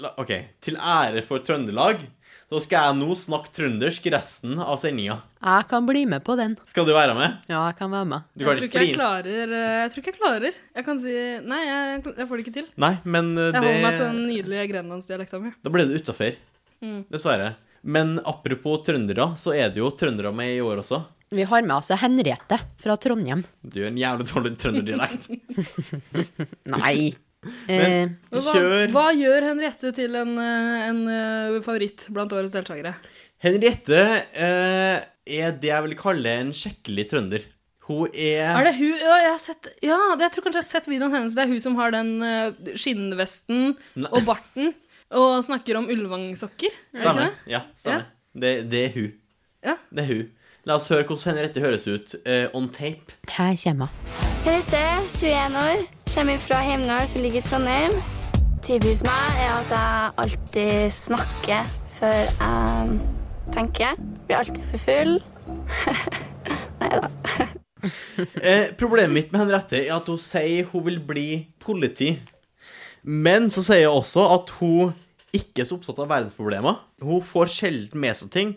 Speaker 1: La, ok, Til ære for Trøndelag, så skal jeg nå snakke trøndersk resten av sendinga.
Speaker 5: Jeg kan bli med på den.
Speaker 1: Skal du være med?
Speaker 5: Ja, jeg kan være med.
Speaker 1: Du
Speaker 3: jeg, tror
Speaker 1: ikke
Speaker 3: ikke jeg,
Speaker 1: bli-
Speaker 3: klarer, eh, jeg tror ikke jeg klarer. Jeg kan si Nei, jeg, jeg får det ikke til.
Speaker 1: Nei, men eh,
Speaker 3: Jeg sånn-
Speaker 1: det
Speaker 3: holder meg til den nydelige grenlandsdialekta mi.
Speaker 1: Da ble det utafor.
Speaker 3: Mm.
Speaker 1: Dessverre. Men apropos trøndere, så er det jo trøndere med i år også.
Speaker 5: Vi har med oss Henriette fra Trondheim.
Speaker 1: Du er en jævlig dårlig trønderdialekt.
Speaker 5: Nei. Eh,
Speaker 3: Men Hva,
Speaker 1: Kjør.
Speaker 3: hva gjør Henriette til en, eh, en eh, favoritt blant årets deltakere?
Speaker 1: Henriette eh, er det jeg vil kalle en skikkelig trønder. Hun er,
Speaker 3: Er det hun Ja, jeg har sett, ja det, jeg tror kanskje jeg har sett videoen hennes. Det er hun som har den eh, skinnvesten
Speaker 1: Nei.
Speaker 3: og barten og snakker om Ulvang-sokker. Er det ikke
Speaker 1: Stemmer.
Speaker 3: det?
Speaker 1: Ja, stemmer. Det, det er hun.
Speaker 3: Ja.
Speaker 1: Det er hun. La oss høre hvordan Henriette høres ut eh, on tape.
Speaker 5: her kommer hun.
Speaker 6: Henriette, 21 år, kommer fra Hemnål, som ligger i Trondheim. Typisk meg er at jeg alltid snakker før jeg tenker. Blir alltid for full.
Speaker 1: Eh, problemet mitt med Henriette er at hun sier hun vil bli politi. Men så sier hun også at hun ikke er så opptatt av verdensproblemer. Hun får sjelden med seg ting,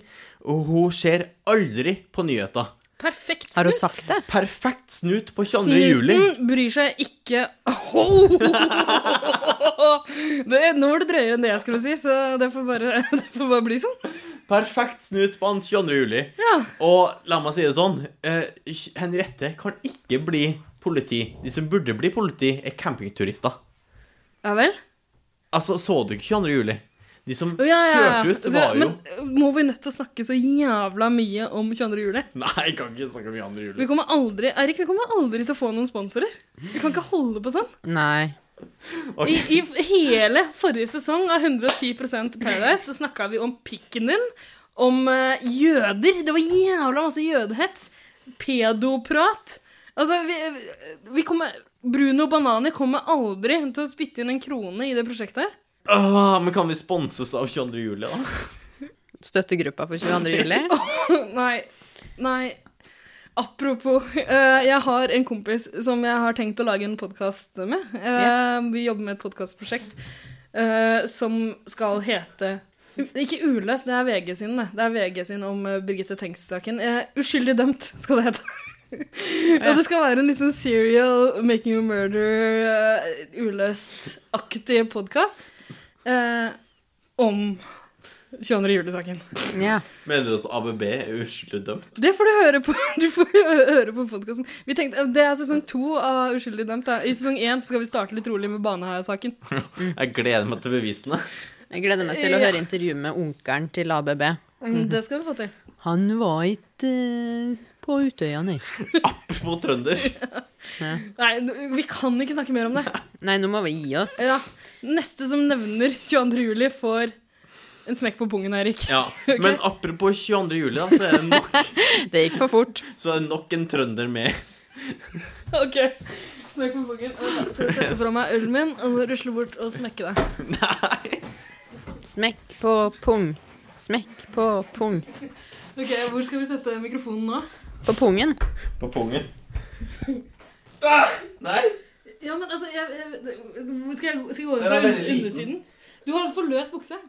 Speaker 1: og hun ser aldri på nyheter.
Speaker 3: Perfekt
Speaker 5: Har hun
Speaker 3: snutt.
Speaker 5: sagt det?
Speaker 1: Perfekt snut på 22. juli.
Speaker 3: Snuten bryr seg ikke Ho! det, Nå var det drøyere enn det jeg skulle si, så det får bare, det får bare bli sånn.
Speaker 1: Perfekt snut på han 22. juli.
Speaker 3: Ja.
Speaker 1: Og la meg si det sånn, eh, Henriette kan ikke bli politi. De som burde bli politi, er campingturister.
Speaker 3: ja vel?
Speaker 1: Altså, så du ikke 22. juli? De som
Speaker 3: Å, Ja, ja, ja.
Speaker 1: kjørte ut,
Speaker 3: Det-
Speaker 1: var jo
Speaker 3: Men eh, må vi nødt til å snakke så jævla mye om 22. juli?
Speaker 1: Nei, jeg kan ikke snakke om 22. juli.
Speaker 3: Vi kommer aldri, Erik, vi kommer aldri til å få noen sponsorer. Vi kan ikke holde på sånn.
Speaker 5: Nei.
Speaker 3: I, i hele forrige sesong av 110 Paradise så snakka vi om pikken din, om eh, jøder. Det var jævla masse jødehets. Pedoprat. Altså, vi, vi kommer Bruno Banani kommer aldri til å spytte inn en krone i det prosjektet her.
Speaker 1: Åh, men kan vi sponses av 22. juli, da?
Speaker 5: Støttegruppa for 22. juli.
Speaker 3: Nei. Nei. Apropos, eh, jeg har en kompis som jeg har tenkt å lage en podkast med. Eh, Vi jobber med et podkastprosjekt som skal hete U- Ikke Uløs, det er VG sin, det. Det er VG sin om eh, Birgitte Tengs-saken. Eh, Uskyldig dømt, skal det hete. Og det skal være en liksom serial making a murder, eh, uløst-aktig podkast om 22. juli-saken.
Speaker 5: Ja.
Speaker 1: Mener du at ABB er uskyldig dømt?
Speaker 3: Det får du høre på, du får hø- høre på podkasten. Det er sesong to av Uskyldig dømt. Da. I sesong én så skal vi starte litt rolig med Baneheia-saken.
Speaker 1: Jeg gleder meg til bevisene.
Speaker 5: Jeg gleder meg til å
Speaker 3: Ja.
Speaker 5: høre intervju med onkelen til ABB.
Speaker 3: Mm, Det skal vi få til.
Speaker 5: Han var ikke eh, på Utøya, nei.
Speaker 1: På trønder.
Speaker 3: Nei, n- vi kan ikke snakke mer om det.
Speaker 5: Nei, nå må vi gi oss.
Speaker 3: Ja. Neste som nevner 22. juli, får en smekk på pungen, Eirik.
Speaker 1: Ja. Men apropos 22. juli, da, så er det nok,
Speaker 5: Det gikk for fort.
Speaker 1: så er det nok en trønder med.
Speaker 3: Ok. Smekk på pungen. Og Så skal jeg sette fra meg ølen min og så rusle bort og smekke deg.
Speaker 5: Smekk på pung. Smekk på pung.
Speaker 3: Ok, Hvor skal vi sette mikrofonen nå?
Speaker 5: På pungen.
Speaker 1: På pungen. Ah, nei!
Speaker 3: Ja, men altså jeg, jeg, skal, jeg, skal jeg gå over
Speaker 1: Den
Speaker 3: fra
Speaker 1: er veldig liten.
Speaker 3: undersiden? Du har for løs bukse.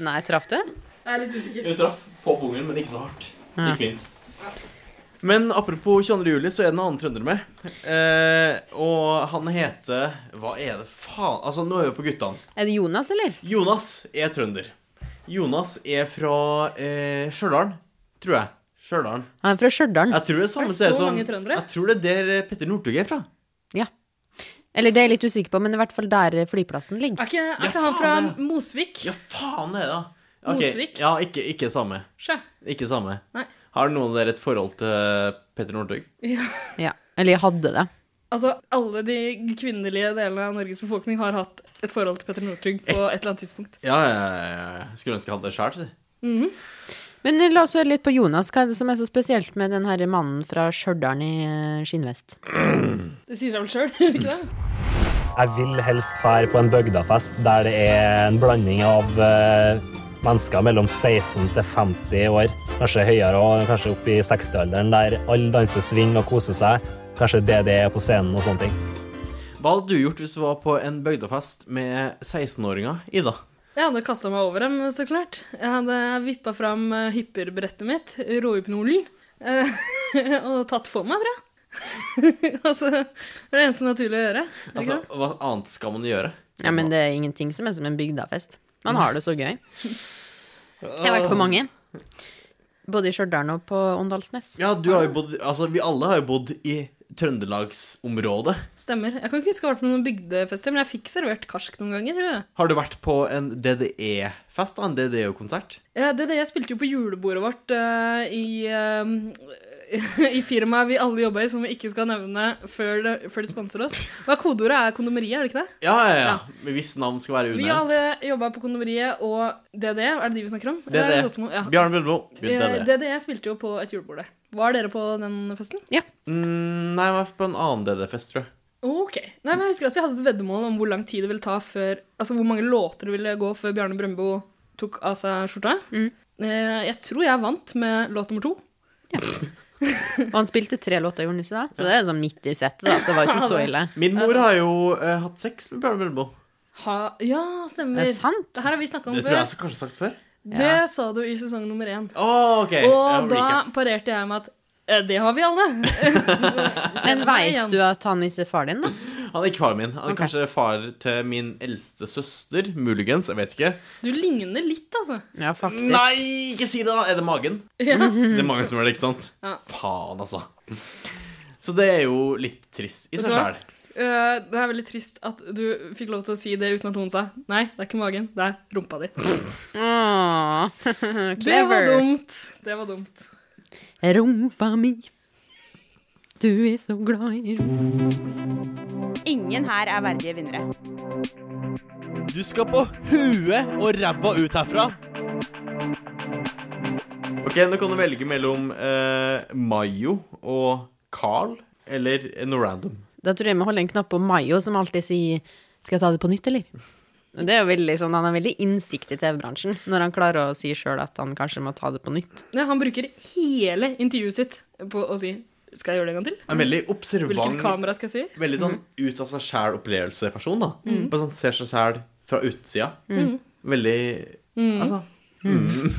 Speaker 5: Nei, traff du?
Speaker 3: Jeg er litt usikker.
Speaker 1: Du traff på pungen, men ikke så hardt. Gikk fint. Men apropos 22. juli, så er det en annen trønder med. Eh, og han heter Hva er det faen Altså, nå er vi på guttene.
Speaker 5: Er det Jonas, eller?
Speaker 1: Jonas er trønder. Jonas er fra eh, Stjørdal, tror jeg. Stjørdal.
Speaker 5: Han er fra Stjørdal.
Speaker 1: Jeg tror det er eh, samme
Speaker 3: Er det
Speaker 1: sted
Speaker 3: så
Speaker 1: som
Speaker 3: mange trøndere?
Speaker 1: Jeg tror det er der Petter Northug er fra.
Speaker 5: Ja. Eller det er jeg litt usikker på, men det er i hvert fall der flyplassen ligger.
Speaker 3: Er ikke, er
Speaker 1: Ja,
Speaker 3: ikke han
Speaker 1: faen,
Speaker 3: fra
Speaker 1: det-
Speaker 3: Mosvik?
Speaker 1: Ja, faen det, da! Ok,
Speaker 3: Mosvik.
Speaker 1: Ja, ikke, ikke samme.
Speaker 3: Sjø.
Speaker 1: Ikke samme.
Speaker 3: Nei.
Speaker 1: Har noen av dere et forhold til eh, Petter Northug?
Speaker 3: Ja.
Speaker 5: Ja. Eller jeg hadde det.
Speaker 3: Altså, alle de kvinnelige delene av Norges befolkning har hatt et forhold til Petter Northug på et eller annet tidspunkt.
Speaker 1: Ja, ja, ja, ja. Skulle ønske jeg hadde det sjæl.
Speaker 5: Men eh, la oss høre litt på Jonas. Hva er det som er så spesielt med den her mannen fra Stjørdal i eh, skinnvest?
Speaker 3: Det sier seg vel sjøl, gjør det ikke det?
Speaker 9: Jeg vil helst fære på en bøgdafest der det er en blanding av eh, mennesker mellom 16 til 50 år, kanskje høyere og kanskje opp i 60-alderen, der alle danser sving og koser seg. Kanskje DDE er på scenen og sånne ting.
Speaker 1: Hva hadde du gjort hvis du var på en bygdefest med 16-åringer, Ida?
Speaker 3: Jeg hadde kasta meg over dem, så klart. Jeg hadde vippa fram eh, hypperbrettet mitt, råhypnolen, eh, og tatt for meg, tror jeg. altså, det er det eneste naturlige å gjøre. er det ikke
Speaker 1: Altså, hva annet skal man gjøre?
Speaker 5: Ja, men det er ingenting som er som en bygdafest. Man har det så gøy. Jeg har vært på mange. Både i Stjørdal og på Åndalsnes.
Speaker 1: Ja, du har jo bodd Altså, vi alle har jo bodd i Trøndelagsområdet.
Speaker 3: det? Stemmer. Jeg kan ikke huske jeg har vært på noen bygdefester, men jeg fikk servert karsk noen ganger. tror jeg.
Speaker 1: Har du vært på en DDE-fest, da? En DDE-konsert?
Speaker 3: Ja, det, er det, jeg spilte jo på julebordet vårt eh, i, eh, i firmaet vi alle jobber i, som vi ikke skal nevne før, det, før de sponser oss. Hva er kodeordet? Er kondomeriet, er det ikke det?
Speaker 1: Ja, ja, ja. Men Hvis navn skal være
Speaker 3: Vi
Speaker 1: unevnt.
Speaker 3: alle jobba på kondomeriet og DDE. Er det de vi snakker om?
Speaker 5: E.
Speaker 3: Eller er
Speaker 1: DDE.
Speaker 3: det Rotemo? Ja.
Speaker 1: Bjarne Brøndbo. Begynte
Speaker 3: Eh,
Speaker 1: DDE.
Speaker 3: DDE spilte jo på et julebord der. Var dere på den festen?
Speaker 1: Mm, nei, jeg var på en annen DDE-fest, tror jeg.
Speaker 3: Ok. Nei, men jeg husker at vi hadde et veddemål om hvor lang tid det ville ta før Altså hvor mange låter det ville gå før Bjarne Brøndbo tok av seg skjorta. Eh, Jeg tror jeg vant med låt nummer to.
Speaker 5: Og han spilte tre låter, gjorde han ikke det? Så det er sånn midt i settet, da, så det var jo ikke så ille.
Speaker 1: Min mor har jo eh, hatt sex med Bjarne Brøndbo.
Speaker 3: Ha, ja, stemmer.
Speaker 5: Er det sant?
Speaker 3: Det her har vi snakka om
Speaker 1: Det tror
Speaker 3: før.
Speaker 1: jeg jeg kanskje har sagt før.
Speaker 3: Det sa du i sesong nummer én.
Speaker 1: Å, ok. Eh,
Speaker 3: Og
Speaker 1: Jeg
Speaker 3: da
Speaker 1: recap.
Speaker 3: parerte jeg med at eh, det har vi alle.
Speaker 5: Men veit du at han ikke er far din, da?
Speaker 1: Han er ikke far min. Han er
Speaker 5: Ok.
Speaker 1: kanskje far til min eldste søster. Muligens. Jeg vet ikke.
Speaker 3: Du ligner litt, altså.
Speaker 5: Ja, faktisk.
Speaker 1: Nei, ikke si det, da! Er det magen?
Speaker 3: Ja.
Speaker 1: Det er magen som gjør det, ikke sant?
Speaker 3: Ja.
Speaker 1: Faen, altså. Så det er jo litt trist i
Speaker 3: Vet
Speaker 1: seg
Speaker 3: du hva?
Speaker 1: sjæl.
Speaker 3: Eh, det er veldig trist at du fikk lov til å si det uten at noen sa nei, det er ikke magen, det er rumpa di.
Speaker 5: Åh,
Speaker 3: Det var
Speaker 5: clever.
Speaker 3: dumt. Det var dumt.
Speaker 5: Rumpa mi, du er så glad i rumpa
Speaker 2: Ingen her er verdige vinnere.
Speaker 1: Du skal på huet og ræva ut herfra. Ok, Nå kan du velge mellom eh, Mayo og Carl eller noe random.
Speaker 5: Da tror jeg vi holder en knapp på Mayo, som alltid sier 'skal jeg ta det på nytt', eller? Og Det er jo veldig sånn, Han har veldig innsikt i TV-bransjen når han klarer å si sjøl at han kanskje må ta det på nytt.
Speaker 3: Ja, han bruker hele intervjuet sitt på å si Skal jeg gjøre det en gang til?
Speaker 1: En veldig
Speaker 3: Hvilket
Speaker 1: observant,
Speaker 3: kamera skal jeg si?
Speaker 1: veldig sånn ut av seg sjæl-opplevelse-person. da. Bare sånn Ser seg sjæl fra utsida. Veldig Altså.
Speaker 3: Ja, men,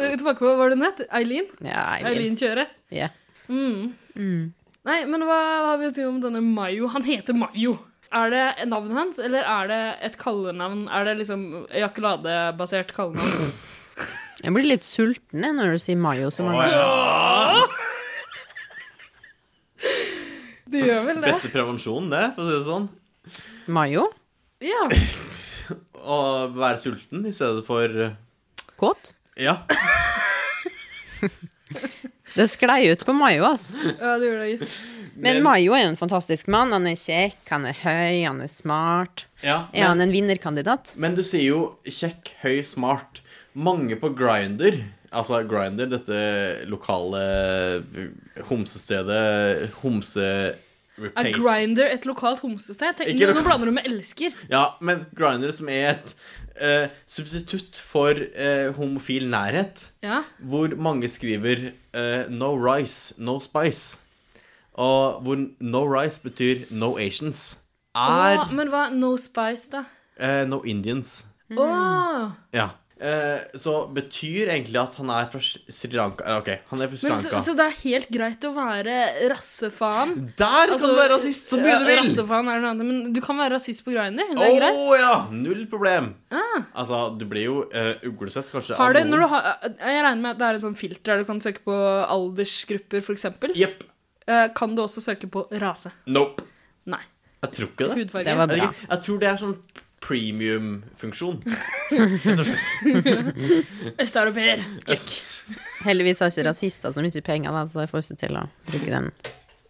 Speaker 3: eh, tilbake på hva var det hun het? Eileen?
Speaker 5: Ja, Eileen.
Speaker 3: Eileen Kjøre?
Speaker 5: Ja.
Speaker 3: Nei, men hva, hva har vi å si om denne Mayo? Han heter Mayo. Er det navnet hans, eller er det et kallenavn? Er det liksom ejakuladebasert kallenavn?
Speaker 5: Jeg blir litt sulten jeg, når du sier Mayo så mange ganger.
Speaker 3: Det gjør vel det?
Speaker 1: Beste prevensjon, det, for å si det sånn.
Speaker 5: Mayo?
Speaker 3: Ja.
Speaker 1: Å være sulten i stedet for eh,
Speaker 5: Kåt?
Speaker 1: Ja.
Speaker 5: Det sklei ut på Mayo, altså.
Speaker 3: ja, det gjør det gitt.
Speaker 5: Men Mayo er jo en fantastisk mann. Han er kjekk, han er høy, han er smart.
Speaker 1: ja.
Speaker 5: Er han en vinnerkandidat?
Speaker 1: Men du sier jo kjekk, høy, smart. Mange på Grinder, altså Grinder, dette lokale eh, homsestedet homse
Speaker 3: Er
Speaker 1: replace.
Speaker 3: Grinder et lokalt homsested? Tenk,
Speaker 1: Ikke
Speaker 3: nå,
Speaker 1: lok-
Speaker 3: nå blander du med elsker.
Speaker 1: Ja, men Grinder som er et eh, substitutt for eh, homofil nærhet,
Speaker 3: Ja.
Speaker 1: hvor mange skriver eh, 'no rice, no spice', og hvor 'no rice' betyr 'no Asians', er
Speaker 3: Å, men hva No Spice, da?
Speaker 1: eh, 'no Indians'.
Speaker 3: Å!
Speaker 1: Ja. Eh, så betyr egentlig at han er fra Sri Lanka Eller, OK, han er fra Sri
Speaker 3: Men, så,
Speaker 1: Lanka.
Speaker 3: så det er helt greit å være rassefaen?
Speaker 1: Der
Speaker 3: Altså,
Speaker 1: kan du være rasist så mye
Speaker 3: ja,
Speaker 1: du vil!
Speaker 3: Rassefaen er noe annet, men du kan være rasist på Grinder. Det
Speaker 1: Å
Speaker 3: er greit. Ah.
Speaker 1: ja! Null problem. Altså, du blir jo eh, uglesett, kanskje. av
Speaker 3: Har det,
Speaker 1: noen.
Speaker 3: når du har, jeg regner med at det er et sånt filter der du kan søke på aldersgrupper, f.eks.
Speaker 1: Jepp.
Speaker 3: Eh, Kan du også søke på rase?
Speaker 1: Nope.
Speaker 3: Nei.
Speaker 1: Jeg tror ikke det.
Speaker 3: Hudfarge.
Speaker 5: Det var
Speaker 1: Jeg, vet
Speaker 5: bra.
Speaker 1: ikke. jeg tror det er sånn premium-funksjon.
Speaker 3: Østeuropeer.
Speaker 5: Heldigvis har ikke rasister så mye penger, da, så jeg får ikke til å bruke den.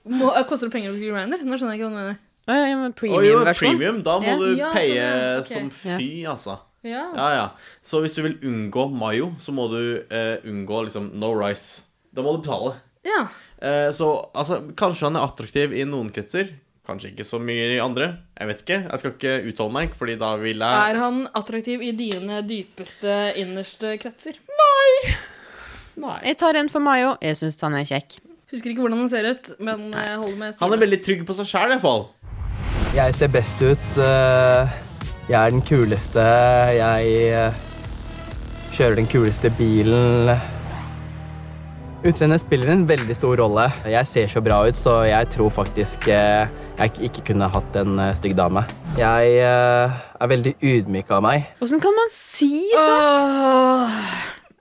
Speaker 3: Må- eh, Koster det penger å bli grinder? Nå skjønner jeg ikke hva du mener.
Speaker 5: Å, ja, ja, men
Speaker 1: Å jo,
Speaker 5: Premium-versjon.
Speaker 1: premium. Da må
Speaker 5: Ja.
Speaker 1: du
Speaker 3: Ja, sånn,
Speaker 1: paye
Speaker 3: ja. Ok.
Speaker 1: som fy, altså.
Speaker 3: Ja.
Speaker 1: Ja, ja. Så hvis du vil unngå mayo, så må du eh, unngå liksom no rice. Da må du betale.
Speaker 3: ja.
Speaker 1: Eh, så altså, kanskje han er attraktiv i noen kretser. Kanskje ikke så mye i andre. Jeg vet ikke. Jeg skal ikke uttale meg, fordi da vil jeg
Speaker 3: Er han attraktiv i dine dypeste, innerste kretser?
Speaker 5: Jeg tar en for Mayo. Jeg syns han er kjekk.
Speaker 3: Husker ikke hvordan han ser ut, men jeg holder med
Speaker 1: Han
Speaker 3: Simen.
Speaker 1: er veldig trygg på seg sjæl, iallfall.
Speaker 10: Jeg ser best ut. eh, Jeg er den kuleste. Jeg eh, kjører den kuleste bilen. Utseendet spiller en veldig stor rolle. Jeg ser så bra ut, så jeg tror faktisk eh, jeg k- ikke kunne hatt en eh, stygg dame. Jeg eh, er veldig ydmyk av meg.
Speaker 5: Åssen kan man si
Speaker 3: Åh.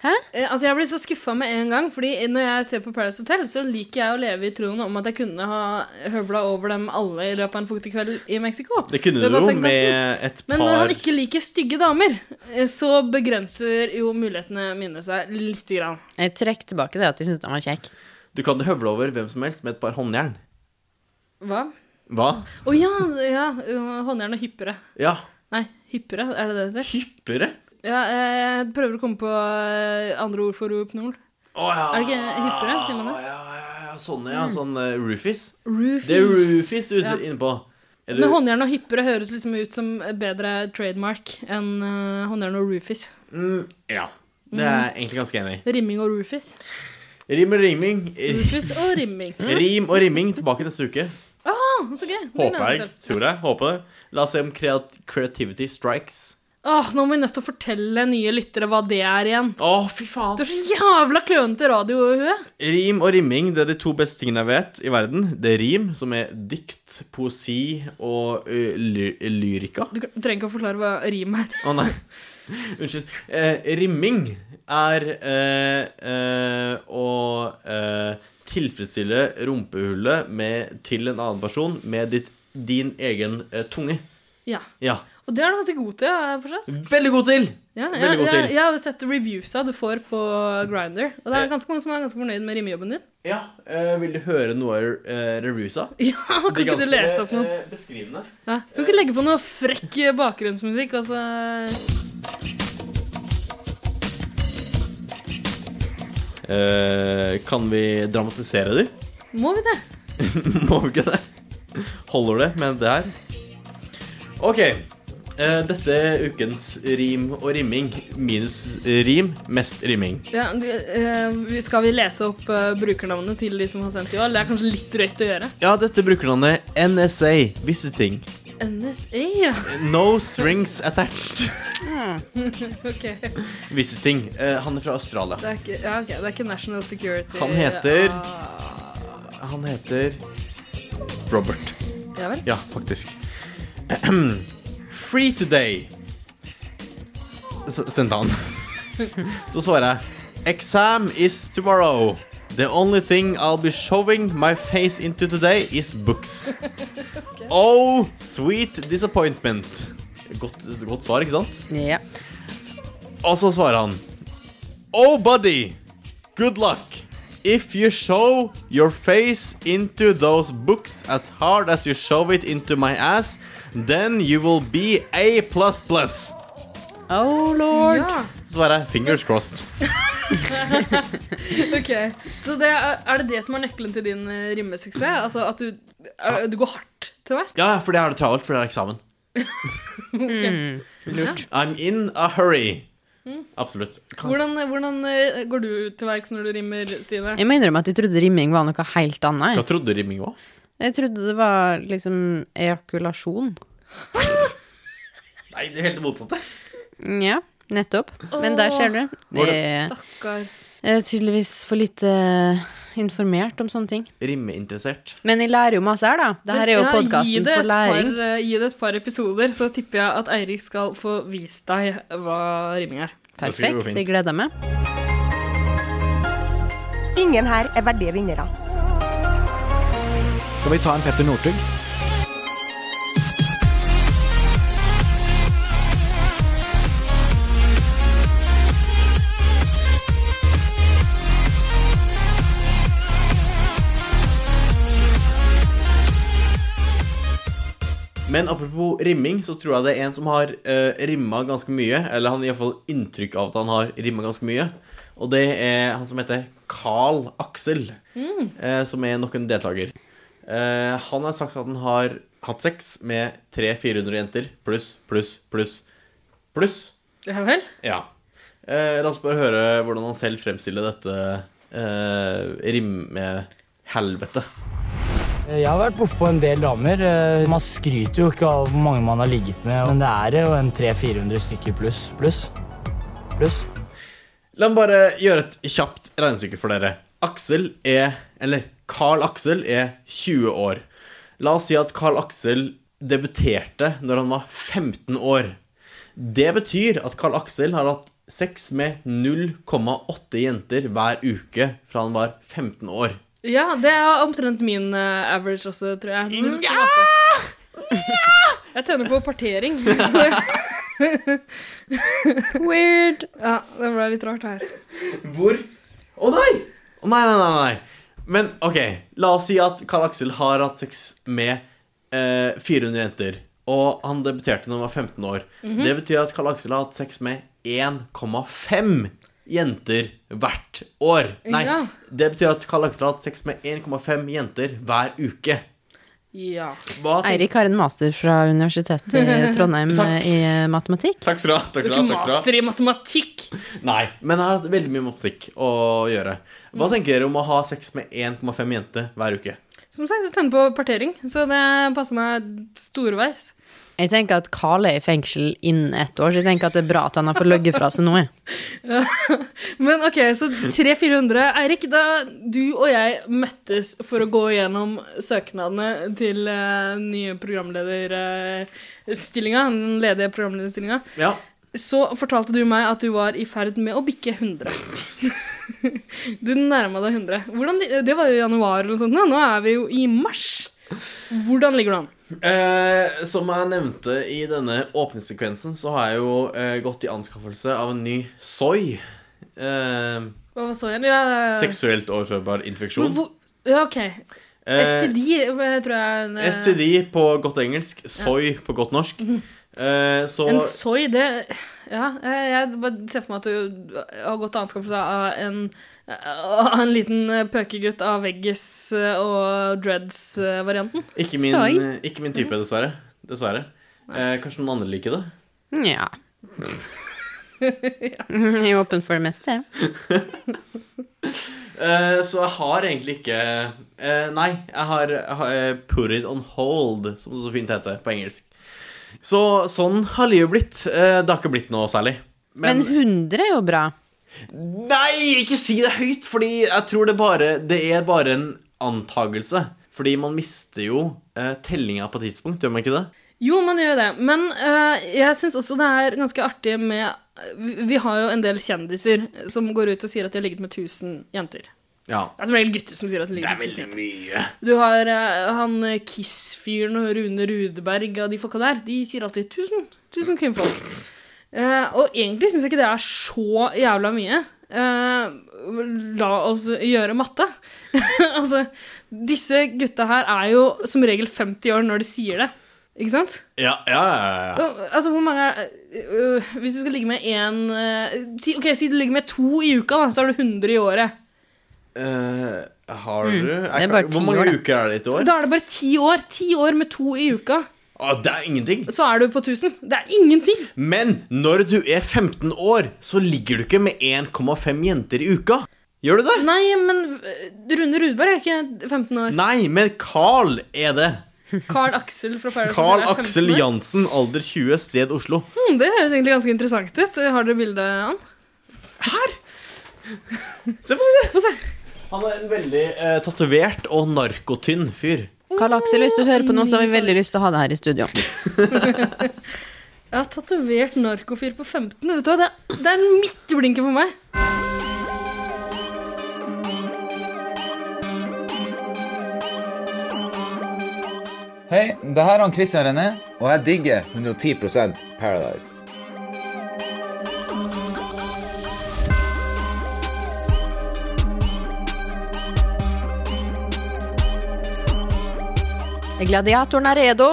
Speaker 5: Hæ?
Speaker 3: Eh, Altså, jeg blir så skuffa med en gang. Fordi når jeg ser på Paradise Hotel, så liker jeg å leve i troen om at jeg kunne ha høvla over dem alle i løpet av en fuktig kveld i Mexico.
Speaker 1: Det kunne
Speaker 3: Det
Speaker 1: du
Speaker 3: var
Speaker 1: jo
Speaker 3: segmenten.
Speaker 1: med et
Speaker 3: Men når
Speaker 1: par
Speaker 3: han ikke liker stygge damer, eh, så begrenser jo mulighetene mine seg lite grann.
Speaker 5: Jeg trekker tilbake det at jeg syns han var kjekk.
Speaker 1: Du kan høvle over hvem som helst med et par håndjern.
Speaker 3: Hva?
Speaker 1: Hva?
Speaker 3: Å ja, ja øh, håndjern og hyppere.
Speaker 1: Ja,
Speaker 3: Nei, hyppere, er det det det heter?
Speaker 1: hyppere.
Speaker 3: Ja, eh, jeg prøver å komme på eh, andre ord for rohypnol.
Speaker 1: Å ja.
Speaker 3: Er det ikke hyppere, sier man det? Mm.
Speaker 1: Å, Ja, ja, ja, sånne, ja. Sånn eh, roofies.
Speaker 3: Roofies.
Speaker 1: Det er roofies du er
Speaker 3: Ja.
Speaker 1: inne på. Er du,
Speaker 3: Men håndjern og hyppere høres liksom ut som bedre trademark enn eh, håndjern og roofies.
Speaker 1: mm, ja. Det
Speaker 3: Mm.
Speaker 1: er jeg egentlig ganske enig i.
Speaker 3: Rimming og roofies.
Speaker 1: Rim og rimming.
Speaker 3: Roofies og rimming.
Speaker 1: Rim og rimming tilbake neste uke.
Speaker 3: Å, Så gøy. Det gleder
Speaker 1: Håper
Speaker 3: jeg
Speaker 1: jeg.
Speaker 3: meg til.
Speaker 1: Tror jeg. Håper det. La oss se om creat creativity strikes.
Speaker 3: Åh, nå må vi nødt til å fortelle nye lyttere hva det er igjen.
Speaker 1: Å, fy faen.
Speaker 3: Du er så jævla klønete radiohue.
Speaker 1: Rim og rimming det er de to beste tingene jeg vet i verden. Det er rim, som er dikt, poesi og ø, ly lyrika.
Speaker 3: Du trenger ikke å forklare hva rim er.
Speaker 1: Å nei. Unnskyld. Eh, rimming er eh, eh, å eh, tilfredsstille rumpehullet med, til en annen person med ditt, din egen eh, tunge.
Speaker 3: Ja.
Speaker 1: Ja.
Speaker 3: Og det er du ganske god til, har jeg forstått.
Speaker 1: Veldig god til!
Speaker 3: Ja, jeg,
Speaker 1: Veldig god
Speaker 3: jeg,
Speaker 1: til.
Speaker 3: jeg har jo sett reviewsa du får på Grinder, og det er ganske mange som er ganske fornøyd med rimejobben din.
Speaker 1: Ja, eh, Vil du høre noe av eh, revusa?
Speaker 3: Ja, Kan ikke du lese opp noe?
Speaker 1: beskrivende.
Speaker 3: Ja. Kan ikke legge på noe frekk bakgrunnsmusikk, og så
Speaker 1: Eh, kan vi dramatisere det?
Speaker 3: må vi det.
Speaker 1: Må vi ikke det? Holder det med det her? Ok. eh, Dette er ukens rim og rimming. Minus rim, mest rimming.
Speaker 3: Ja, du, eh, vi- skal vi lese opp eh, brukernavnet til de som har sendt i år? Det er kanskje litt drøyt å gjøre.
Speaker 1: Ja, dette bruker han det. NSA. Visse ting.
Speaker 3: NSA, ja.
Speaker 1: No strings attached.
Speaker 3: Ok. Det
Speaker 1: Visse ting. Eh, Han er fra Australia.
Speaker 3: er ikke, ja, ok, det er ikke National Security
Speaker 1: Han heter-
Speaker 3: Ah,
Speaker 1: Han heter Robert.
Speaker 3: Ja vel.
Speaker 1: Ja, faktisk. Free today. Så sendte han. Så svarer jeg. Exam is tomorrow. The only thing I'll be showing my face into today is books. Oh, sweet disappointment. Godt, godt svar, ikke sant?
Speaker 5: Ja.
Speaker 1: Og så svarer han Oh buddy, good luck If you show your face into those books As hard as you show it into my ass Then you will be A++ Så
Speaker 5: Oh lord.
Speaker 3: Ja.
Speaker 1: svarer jeg, fingers crossed
Speaker 3: Ok, Så det er, er det det som er nøkkelen til din eh, rimmesuksess? Altså at du, er, du går hardt til verk?
Speaker 1: Ja, for det har det travelt, for det er eksamen
Speaker 5: Mm,
Speaker 3: Lurt.
Speaker 1: I'm in a hurry Mm. Absolutt kan,
Speaker 3: Hvordan, hvordan eh, går du til verks når du rimmer, Stine?
Speaker 5: Jeg må innrømme at jeg trodde rimming var noe helt annet.
Speaker 1: Hva trodde du rimming var?
Speaker 5: Jeg trodde det var liksom ejakulasjon.
Speaker 1: Nei, det er helt motsatt
Speaker 5: Ja, nettopp. Men der ser du.
Speaker 1: Var
Speaker 5: Jeg
Speaker 3: Stakkar.
Speaker 5: er tydeligvis for lite eh, informert om sånne ting.
Speaker 1: Rimmeinteressert
Speaker 5: Men jeg lærer jo masse her, da. Dette er jo
Speaker 3: Ja, gi
Speaker 5: podkasten
Speaker 3: det
Speaker 5: for
Speaker 3: et par-
Speaker 5: læring.
Speaker 3: eh, gi det et par episoder, så tipper jeg at Eirik skal få vist deg hva rimming er.
Speaker 1: Det skal gå
Speaker 5: Perfekt.
Speaker 1: fint.
Speaker 5: Jeg gleder meg.
Speaker 8: Ingen her er verdige vinnere.
Speaker 10: Skal vi ta en Petter Northug?
Speaker 1: Men apropos rimming, så tror jeg det er en som har uh, rimma ganske mye. Eller han har iallfall inntrykk av at han har rimma ganske mye. Og det er han som heter Carl Aksel, eh, som er nok en deltaker. Eh, han har sagt at han har hatt sex med 300-400 jenter pluss, pluss, pluss, pluss.
Speaker 3: Ja vel?
Speaker 1: Ja. Eh, la oss bare høre hvordan han selv fremstiller dette eh, rimmehelvetet.
Speaker 11: Eh, Jeg har vært bortpå en del damer. Eh, Man skryter jo ikke av hvor mange man har ligget med, men det er jo en 300-400 stykker pluss. Pluss. Pluss.
Speaker 1: La meg bare gjøre et kjapt regnestykke for dere. Aksel er Eller Carl Aksel er 20 år. La oss si at Carl Aksel debuterte når han var 15 år. Det betyr at Carl Aksel har hatt sex med 0,8 jenter hver uke fra han var 15 år.
Speaker 3: Ja, det er omtrent min eh, average også, tror jeg. På en måte. Jeg tjener på partering. Weird. Ja, det ble litt rart her.
Speaker 1: Hvor Å nei! Å nei, nei, nei, nei. Men OK, la oss si at Karl Aksel har hatt sex med eh, 400 jenter. Og han debuterte når han var 15 år.
Speaker 12: Mhm.
Speaker 1: Det betyr at Karl Aksel har hatt sex med 1,5 jenter hvert år. Nei,
Speaker 3: Ja.
Speaker 1: det betyr at Karl Aksel har hatt sex med 1,5 jenter hver uke.
Speaker 3: Ja.
Speaker 1: Hva tenker-
Speaker 5: Eirik har en master fra Universitetet i Trondheim eh,
Speaker 1: Takk.
Speaker 5: i matematikk.
Speaker 1: Takk skal du ha. Takk
Speaker 3: Du
Speaker 1: skal du
Speaker 3: er
Speaker 1: ha,
Speaker 3: ikke
Speaker 1: takk skal du ha.
Speaker 3: master i matematikk.
Speaker 1: Nei, men jeg har hatt veldig mye matematikk å gjøre. Hva tenker dere om å ha sex med 1,5 jenter hver uke?
Speaker 3: Som sagt, jeg tjener på partering, så det passer meg storveis.
Speaker 5: Jeg tenker at Carl er i fengsel innen ett år, så jeg tenker at det er bra at han har fått løgge fra seg noe.
Speaker 3: Men ok, så 300-400. Eirik, da du og jeg møttes for å gå gjennom søknadene til eh, nye programlederstillinga, den ledige programlederstillinga,
Speaker 1: Ja.
Speaker 3: så fortalte du meg at du var i ferd med å bikke 100. du nærma deg 100. Hvordan, det var jo i januar eller noe sånt. da. Nå er vi jo i mars. Hvordan ligger du an?
Speaker 1: Eh, som jeg nevnte i denne åpningssekvensen, så har jeg jo eh, gått i anskaffelse av en ny soy. Eh,
Speaker 3: Hva var så igjen? Ja, ja, ja.
Speaker 1: seksuelt overførbar infeksjon.
Speaker 3: Men hvor- Ja, OK.
Speaker 1: Eh,
Speaker 3: STD eh, tror jeg er en, eh, Mhm.
Speaker 1: STD på godt engelsk, soy på godt norsk. Eh, så
Speaker 3: En soy, det Ja, eh, jeg bare ser for meg at du har gått til anskaffelse av en, av en liten eh, pøkegutt av veggis eh, og eh, dreads-varianten.
Speaker 1: ikke min, ikke min
Speaker 3: Mhm.
Speaker 1: type, dessverre. dessverre. Eh, kanskje noen andre liker det?
Speaker 5: Nja. Jeg er åpen for det meste, jeg.
Speaker 1: Eh, så jeg har egentlig ikke eh, Nei, jeg har, jeg har eh, put it on hold, som det så fint heter på engelsk. Så sånn har livet blitt. Eh, det har ikke blitt noe særlig.
Speaker 5: Men 100 er jo bra.
Speaker 1: Nei, ikke si det høyt, fordi jeg tror det bare Det er bare en antagelse. Fordi man mister jo eh, tellinga på et tidspunkt, gjør man ikke det?
Speaker 3: Jo, man gjør det. Men eh, jeg syns også det er ganske artig med vi- Vi har jo en del kjendiser som går ut og sier at de har ligget med 1000 jenter.
Speaker 1: Ja.
Speaker 3: Det er som regel gutter som sier at de
Speaker 1: Det
Speaker 3: ligger
Speaker 1: er
Speaker 3: med 1000
Speaker 1: veldig mye.
Speaker 3: Du har eh, han eh, Kiss-fyren og Rune Rudeberg og de folka der. De sier alltid 1000. 1000 kvinnfolk. Eh, og egentlig syns jeg ikke det er så jævla mye. Eh, la oss gjøre matte. altså, disse gutta her er jo som regel 50 år når de sier det. Ikke sant?
Speaker 1: Ja, ja, ja, ja.
Speaker 3: Og, Altså, hvor mange er øh, Hvis du skal ligge med én øh, si, Ok, si du ligger med to i uka, da, så har du 100 i året.
Speaker 1: Eh, har
Speaker 3: Mm,
Speaker 1: du
Speaker 3: det er
Speaker 1: jeg,
Speaker 3: bare ti
Speaker 1: Hvor mange
Speaker 3: år, da.
Speaker 1: uker er det i et år?
Speaker 3: Da er det bare ti år. Ti år med to i uka.
Speaker 1: Ah, det er ingenting.
Speaker 3: Så er du på 1000. Det er ingenting!
Speaker 1: Men når du er 15 år, så ligger du ikke med 1,5 jenter i uka. Gjør du det?
Speaker 3: Nei, men øh, Rune Rudberg er ikke 15 år.
Speaker 1: Nei, men Carl er det.
Speaker 3: Carl Aksel fra Paradise
Speaker 1: Carl
Speaker 3: Hotel er 15
Speaker 1: Aksel
Speaker 3: år.
Speaker 1: Jansen, alder 20, sted Oslo.
Speaker 3: Hmm, det høres egentlig ganske interessant ut. Har dere bilde av han?
Speaker 1: Se på det! Han er en veldig eh, tatovert og narkotynn fyr.
Speaker 5: Carl Aksel, hvis du hører på nå, så har vi veldig lyst til å ha deg her i studio.
Speaker 3: Ja, Tatovert narkofil på 15. Vet du hva, det, det er en midtblinker for meg.
Speaker 13: Hei, det her er han Christian René, og jeg digger 110 Paradise.
Speaker 5: Gladiatoren er redo.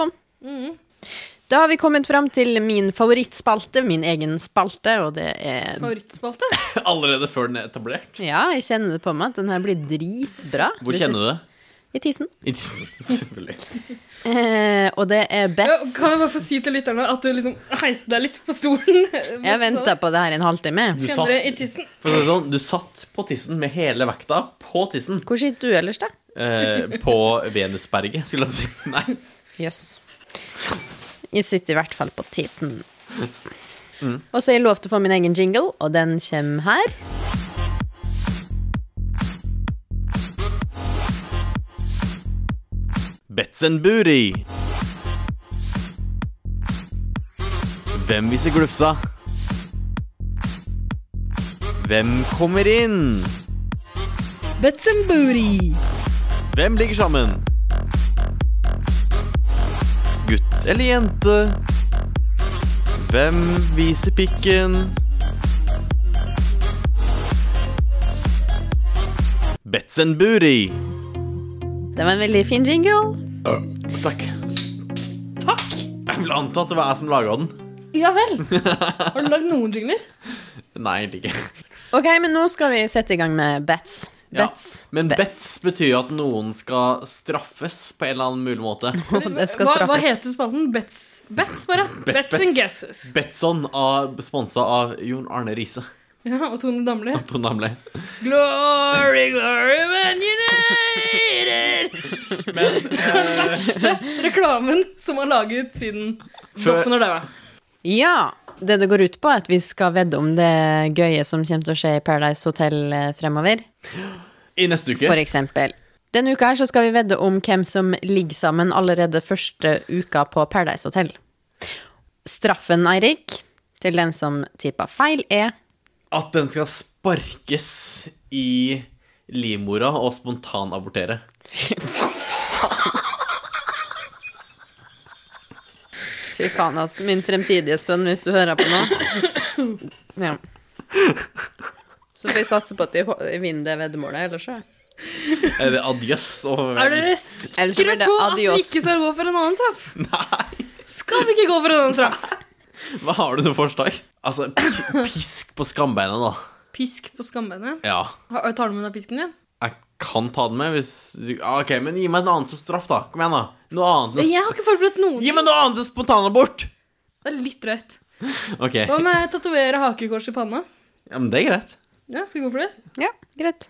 Speaker 5: Da har vi kommet fram til min favorittspalte, min egen spalte, og det er
Speaker 3: Favorittspalte?
Speaker 1: Allerede før den er etablert?
Speaker 5: Ja, jeg kjenner det på meg at den her blir dritbra.
Speaker 1: Hvor kjenner du det?
Speaker 5: I tissen.
Speaker 1: I tissen, selvfølgelig.
Speaker 5: Eh, og det er
Speaker 3: Ja,
Speaker 5: bets.
Speaker 3: kan jeg bare få si til lytterne at du liksom heiste deg litt på stolen?
Speaker 5: Jeg venta på det her i en halvtime.
Speaker 1: Du
Speaker 3: Kjenner det
Speaker 1: satt,
Speaker 3: i tissen.
Speaker 1: for å si det sånn, du satt på tissen med hele vekta på tissen.
Speaker 5: Hvor sitter du ellers, da?
Speaker 1: Eh, på Venusberget, skulle jeg si. Nei.
Speaker 5: Jøss. Jeg sitter i hvert fall på tissen.
Speaker 1: Mm.
Speaker 5: Og så har jeg lovt å få min egen jingle, og den kommer her.
Speaker 1: Bets and Booty. Hvem viser glufsa? Hvem kommer inn?
Speaker 3: Bets and booty.
Speaker 1: Hvem ligger sammen? Gutt eller jente? Hvem viser pikken? Bets and Booty.
Speaker 5: Det var en veldig fin jingle.
Speaker 1: Takk. Jeg vil anta at det var jeg som laga den.
Speaker 3: Ja vel. Har du lagd noen jingler?
Speaker 1: Nei, egentlig ikke.
Speaker 5: Ok, men nå skal vi sette i gang med bets.
Speaker 1: Ja.
Speaker 5: Bets.
Speaker 1: Men bets betyr jo at noen skal straffes på en eller annen mulig måte.
Speaker 5: Det skal
Speaker 3: hva, hva
Speaker 5: straffes.
Speaker 3: heter spalten? Bets, bets bare.
Speaker 1: Bet-
Speaker 3: bets, and guesses.
Speaker 1: Betson, av- sponset av Jon Arne Riise.
Speaker 3: Ja, og Tone Damli.
Speaker 1: Trond Damli.
Speaker 3: Glory, glory, man united! Den verste reklamen som er laget siden
Speaker 5: Før-
Speaker 3: Doffen og daua.
Speaker 5: Ja. Det det går ut på, er at vi skal vedde om det gøye som kommer til å skje i Paradise Hotel eh, fremover.
Speaker 1: I neste uke.
Speaker 5: For eksempel. Denne uka her så skal vi vedde om hvem som ligger sammen allerede første uka på Paradise Hotel. Straffen, Eirik, til den som tippa feil, er
Speaker 1: At den skal sparkes i livmora og spontanabortere.
Speaker 5: Fy faen, altså. Min fremtidige sønn, hvis du hører på nå. Ja. Så vi satser på at de ho- vinner det veddemålet, ellers så
Speaker 1: Er det adjøs? og-
Speaker 3: Er dere
Speaker 5: Ellers så
Speaker 3: sikre
Speaker 5: blir det
Speaker 3: på at vi
Speaker 5: adios.
Speaker 3: ikke skal gå for en annen straff? Nei. Skal vi ikke gå for en annen straff?
Speaker 1: Hva har du til forslag? Altså, p- pisk på skambeinet, da.
Speaker 3: Pisk på skambeinet.
Speaker 1: Ja.
Speaker 3: Ha- Tar du med deg pisken din?
Speaker 1: Jeg kan ta den med hvis du ah, OK, men gi meg en annen som straff, da. Kom igjen, da. Noe annet. enn-
Speaker 3: Jeg har ikke forberedt noen.
Speaker 1: Gi meg noe annet enn spontanabort!
Speaker 3: Det er litt drøyt.
Speaker 1: OK.
Speaker 3: Hva med tatovere hakekors i panna?
Speaker 1: Ja, men det er greit.
Speaker 3: Ja, Skal vi gå for det?
Speaker 5: Ja, greit.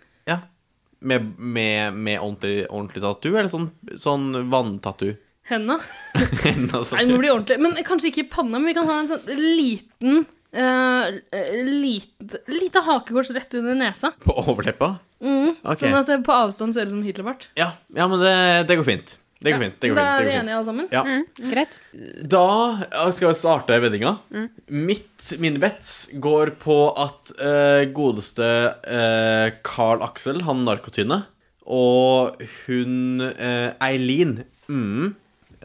Speaker 1: Med, med, med ordentlig, ordentlig tattoo, eller sånn, sånn vanntattoo?
Speaker 3: Henda.
Speaker 1: Enda
Speaker 3: Nei, nå
Speaker 1: tattoo.
Speaker 3: blir det ordentlig. Men kanskje ikke i panna, men vi kan ha en sånn liten eh, lite, lite hakekors rett under nesa.
Speaker 1: På overleppa?
Speaker 3: Mm.
Speaker 1: Ok.
Speaker 3: Sånn at det på avstand ser ut som Hitlerbart.
Speaker 1: Ja, ja men det, det går fint. Det går fint. Det går
Speaker 3: da
Speaker 1: fint,
Speaker 3: er
Speaker 1: det
Speaker 3: vi
Speaker 1: går
Speaker 3: enige, Mm. alle sammen?
Speaker 1: Ja.
Speaker 5: Greit.
Speaker 1: fint. Da skal vi starte veddinga.
Speaker 3: Mm.
Speaker 1: Mitt, min bets går på at eh, godeste eh, Carl Axel, han narkotyne, og hun eh, Eileen mm,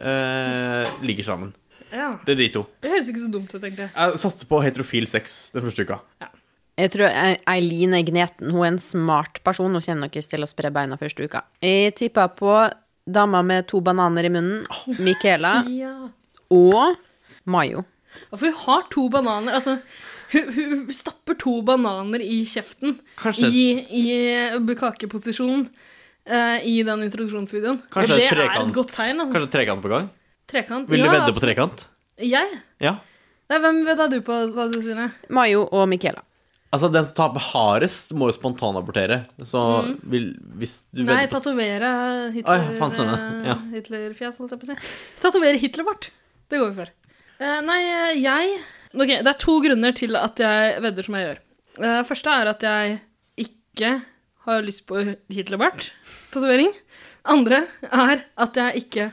Speaker 1: eh, ligger sammen.
Speaker 3: Ja.
Speaker 1: Det er de to.
Speaker 3: Det høres ikke så dumt ut, egentlig.
Speaker 1: Jeg satser på heterofil sex den første uka.
Speaker 5: Jeg tror E- Eileen er gneten. Hun er en smart person. Hun kommer nok ikke til å spre beina første uka. Jeg tippa på dama med to bananer i munnen, Michaela,
Speaker 3: Ja.
Speaker 5: og Mayo.
Speaker 3: Ja, For hun har to bananer Altså, hun, hun stapper to bananer i kjeften.
Speaker 1: Kanskje-
Speaker 3: I, i bukakeposisjon eh, i den introduksjonsvideoen.
Speaker 1: Kanskje
Speaker 3: og det er
Speaker 1: trekant.
Speaker 3: et godt tegn. Altså.
Speaker 1: Kanskje trekant på gang?
Speaker 3: Trekant.
Speaker 1: Vil du
Speaker 3: Ja,
Speaker 1: vedde på trekant?
Speaker 3: Jeg?
Speaker 1: Ja.
Speaker 3: Nei, hvem vedda du på, sa du, Sine?
Speaker 5: Mayo og Michaela.
Speaker 1: Altså, den som taper hardest, må jo spontanabortere. Så
Speaker 3: Mm.
Speaker 1: vil, hvis du
Speaker 3: Nei,
Speaker 1: vedder på
Speaker 3: tatovere
Speaker 1: Oi,
Speaker 3: Hitler,
Speaker 1: faen, sånn, ja.
Speaker 3: eh, Hitlerfjes, holdt jeg på å si. Tatovere Hitlerbart. Det går vi for. Eh, nei, eh, jeg Ok, det er to grunner til at jeg vedder som jeg gjør. Uh, første er at jeg ikke har lyst på Hitlerbart-tatovering. Andre er at jeg ikke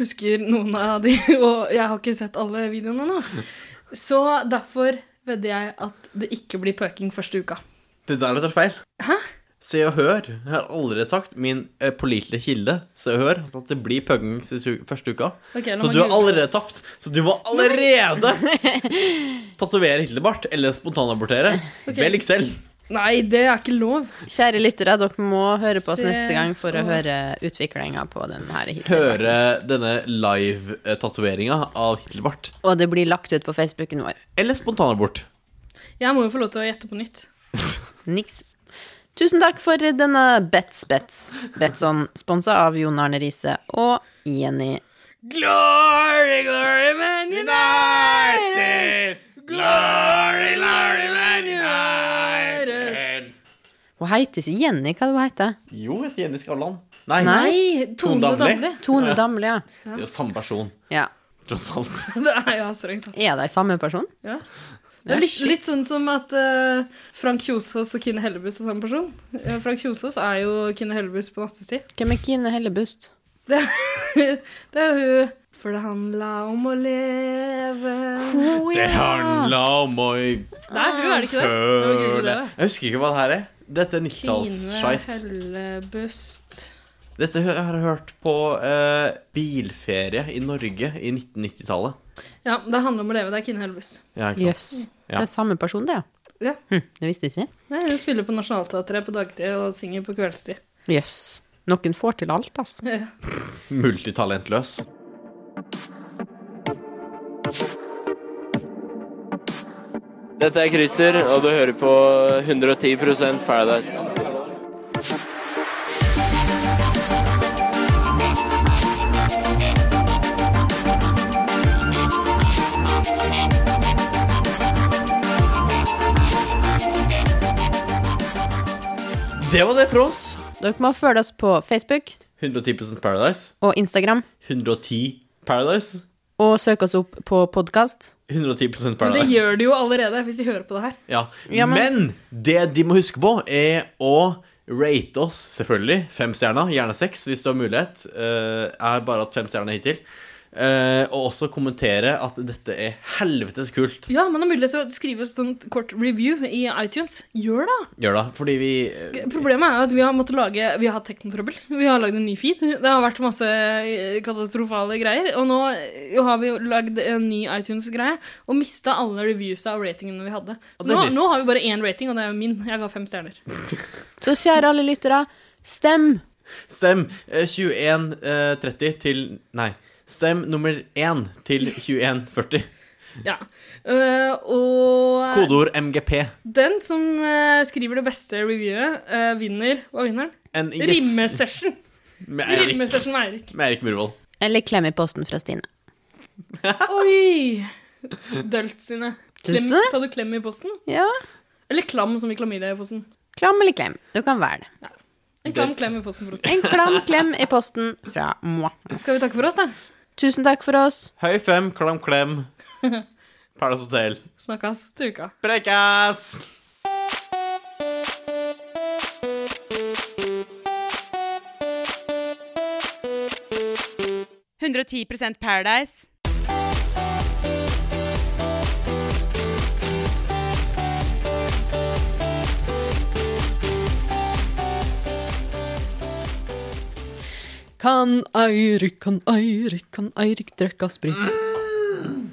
Speaker 3: husker noen av de, og jeg har ikke sett alle videoene nå. Så derfor vedder jeg at det ikke blir pøking første uka.
Speaker 1: Det der er feil. Hæ? Se og Hør jeg har allerede sagt, min eh, pålitelige kilde, Se og Hør, at det blir pugging siste u- første uka.
Speaker 3: Ok, la
Speaker 1: så
Speaker 3: meg
Speaker 1: du har
Speaker 3: google.
Speaker 1: allerede tapt. Så du må allerede tatovere Hitlerbart eller spontanabortere.
Speaker 3: Ok.
Speaker 1: Velg selv.
Speaker 3: Nei, det er ikke lov.
Speaker 5: Kjære lyttere, dere må høre på oss
Speaker 3: Se
Speaker 5: neste gang for
Speaker 3: på-
Speaker 5: å høre utviklinga på denne Hitler.
Speaker 1: Høre denne live-tatoveringa av Hitlerbart.
Speaker 5: Og det blir lagt ut på Facebooken vår.
Speaker 1: Eller spontanabort.
Speaker 3: Jeg må jo få lov til å gjette på nytt.
Speaker 5: Niks. Tusen takk for denne Bets Bets Betson, sponsa av Jon Arne Riise og Jenny.
Speaker 3: Glory, glory, man
Speaker 12: united!
Speaker 3: Glory, glory, man united!
Speaker 5: Hun heter ikke Jenny, hva er det hun heter
Speaker 1: Jo, heter Jenny Skavlan. Nei,
Speaker 5: Nei, Tone Damli. Tone Damli, ja.
Speaker 1: Det er jo samme person,
Speaker 5: Ja.
Speaker 1: tross alt.
Speaker 3: Det er jo strengt tatt.
Speaker 5: Er de samme person?
Speaker 3: Ja. Det er litt, litt sånn som at eh, Frank Kjosås og Kine Hellebust er samme person. Eh, Frank Kjosås er jo Kine Hellebust på nattestid.
Speaker 5: Hvem er Kine Hellebust?
Speaker 3: Det, det er jo hun For det handla om å leve
Speaker 5: Oh,
Speaker 1: Det handla om å
Speaker 3: Nei, hun er det ikke det. Det var Guri, det.
Speaker 1: Jeg husker ikke hva det her er. Dette er
Speaker 3: Kine
Speaker 1: 90-tallsshite.
Speaker 3: Hellebust
Speaker 1: Dette hø- har jeg hørt på eh, bilferie i Norge i 1990-tallet.
Speaker 3: Ja, det handler om å leve. Det er Kine Hellebust.
Speaker 1: Ja, ikke sant? Yes. Ja.
Speaker 5: Det er samme person, det,
Speaker 3: ja.
Speaker 5: Hm, det visste jeg ikke.
Speaker 3: Nei, hun spiller på Nationaltheatret på dagtid og synger på kveldstid.
Speaker 5: Jøss. Yes. Noen får til alt, altså.
Speaker 3: Ja.
Speaker 1: Multitalentløs.
Speaker 14: Dette er Christer, og du hører på 110 Paradise.
Speaker 1: Det var det for oss.
Speaker 5: Dere må følge oss på Facebook
Speaker 1: 110 Paradise.
Speaker 5: og Instagram,
Speaker 1: 110 Paradise.
Speaker 5: og søk oss opp på podkast.
Speaker 1: 110
Speaker 3: Men det
Speaker 1: Paradise.
Speaker 3: gjør de jo allerede, hvis de hører på det her.
Speaker 1: Ja.
Speaker 3: Ja,
Speaker 1: men...
Speaker 3: men-
Speaker 1: det de må huske på, er å rate oss, selvfølgelig. Fem stjerner, gjerne seks hvis du har mulighet. Eh, Jeg har bare hatt fem stjerner hittil. Eh, og også kommentere at dette er helvetes kult.
Speaker 3: Ja, man har mulighet til å skrive et sånt kort review i iTunes. Gjør det!
Speaker 1: Gjør det. Fordi vi eh,
Speaker 3: Problemet er at vi har måttet lage Vi har hatt teknotrøbbel. Vi har lagd en ny feed. Det har vært masse eh, katastrofale greier. Og nå eh, har vi jo lagd en ny iTunes-greie og mista alle reviewsa og ratingene vi hadde.
Speaker 5: Og
Speaker 3: Så
Speaker 5: det er
Speaker 3: nå,
Speaker 5: trist.
Speaker 3: nå har vi bare én rating, og det er jo min. Jeg ga fem stjerner.
Speaker 5: Så kjære alle lyttere, stem!
Speaker 1: Stem eh, 2130 til Nei. Stem nummer 1 til 2140.
Speaker 3: Ja. Eh, og
Speaker 1: Kodeord MGP.
Speaker 3: Den som eh, skriver det beste reviewet, eh, vinner Hva vinner
Speaker 1: En
Speaker 3: den?
Speaker 1: yes-
Speaker 3: Rimmesession.
Speaker 1: Med Eirik.
Speaker 3: Rimmesession med Eirik.
Speaker 1: Med Eirik Murvold.
Speaker 5: Eller klem i posten fra Stine.
Speaker 3: Oi! Dølt sine.
Speaker 5: Syns
Speaker 3: Klem,
Speaker 5: du det?
Speaker 3: sa du klem i posten?
Speaker 5: Ja.
Speaker 3: Eller klam, som i klamydia i posten.
Speaker 5: Klam eller klem? Du kan velge.
Speaker 3: En klam klem i posten, forresten.
Speaker 5: En klam klem i posten fra moi.
Speaker 3: Skal vi takke for oss, da?
Speaker 5: Tusen takk for oss.
Speaker 1: Høy fem, klam klem. Paradise Hotel.
Speaker 3: Snakkes til uka.
Speaker 1: Prekkas!
Speaker 8: Paradise. 110 Paradise.
Speaker 5: Kan Eirik, kan Eirik, kan Eirik drikke sprit?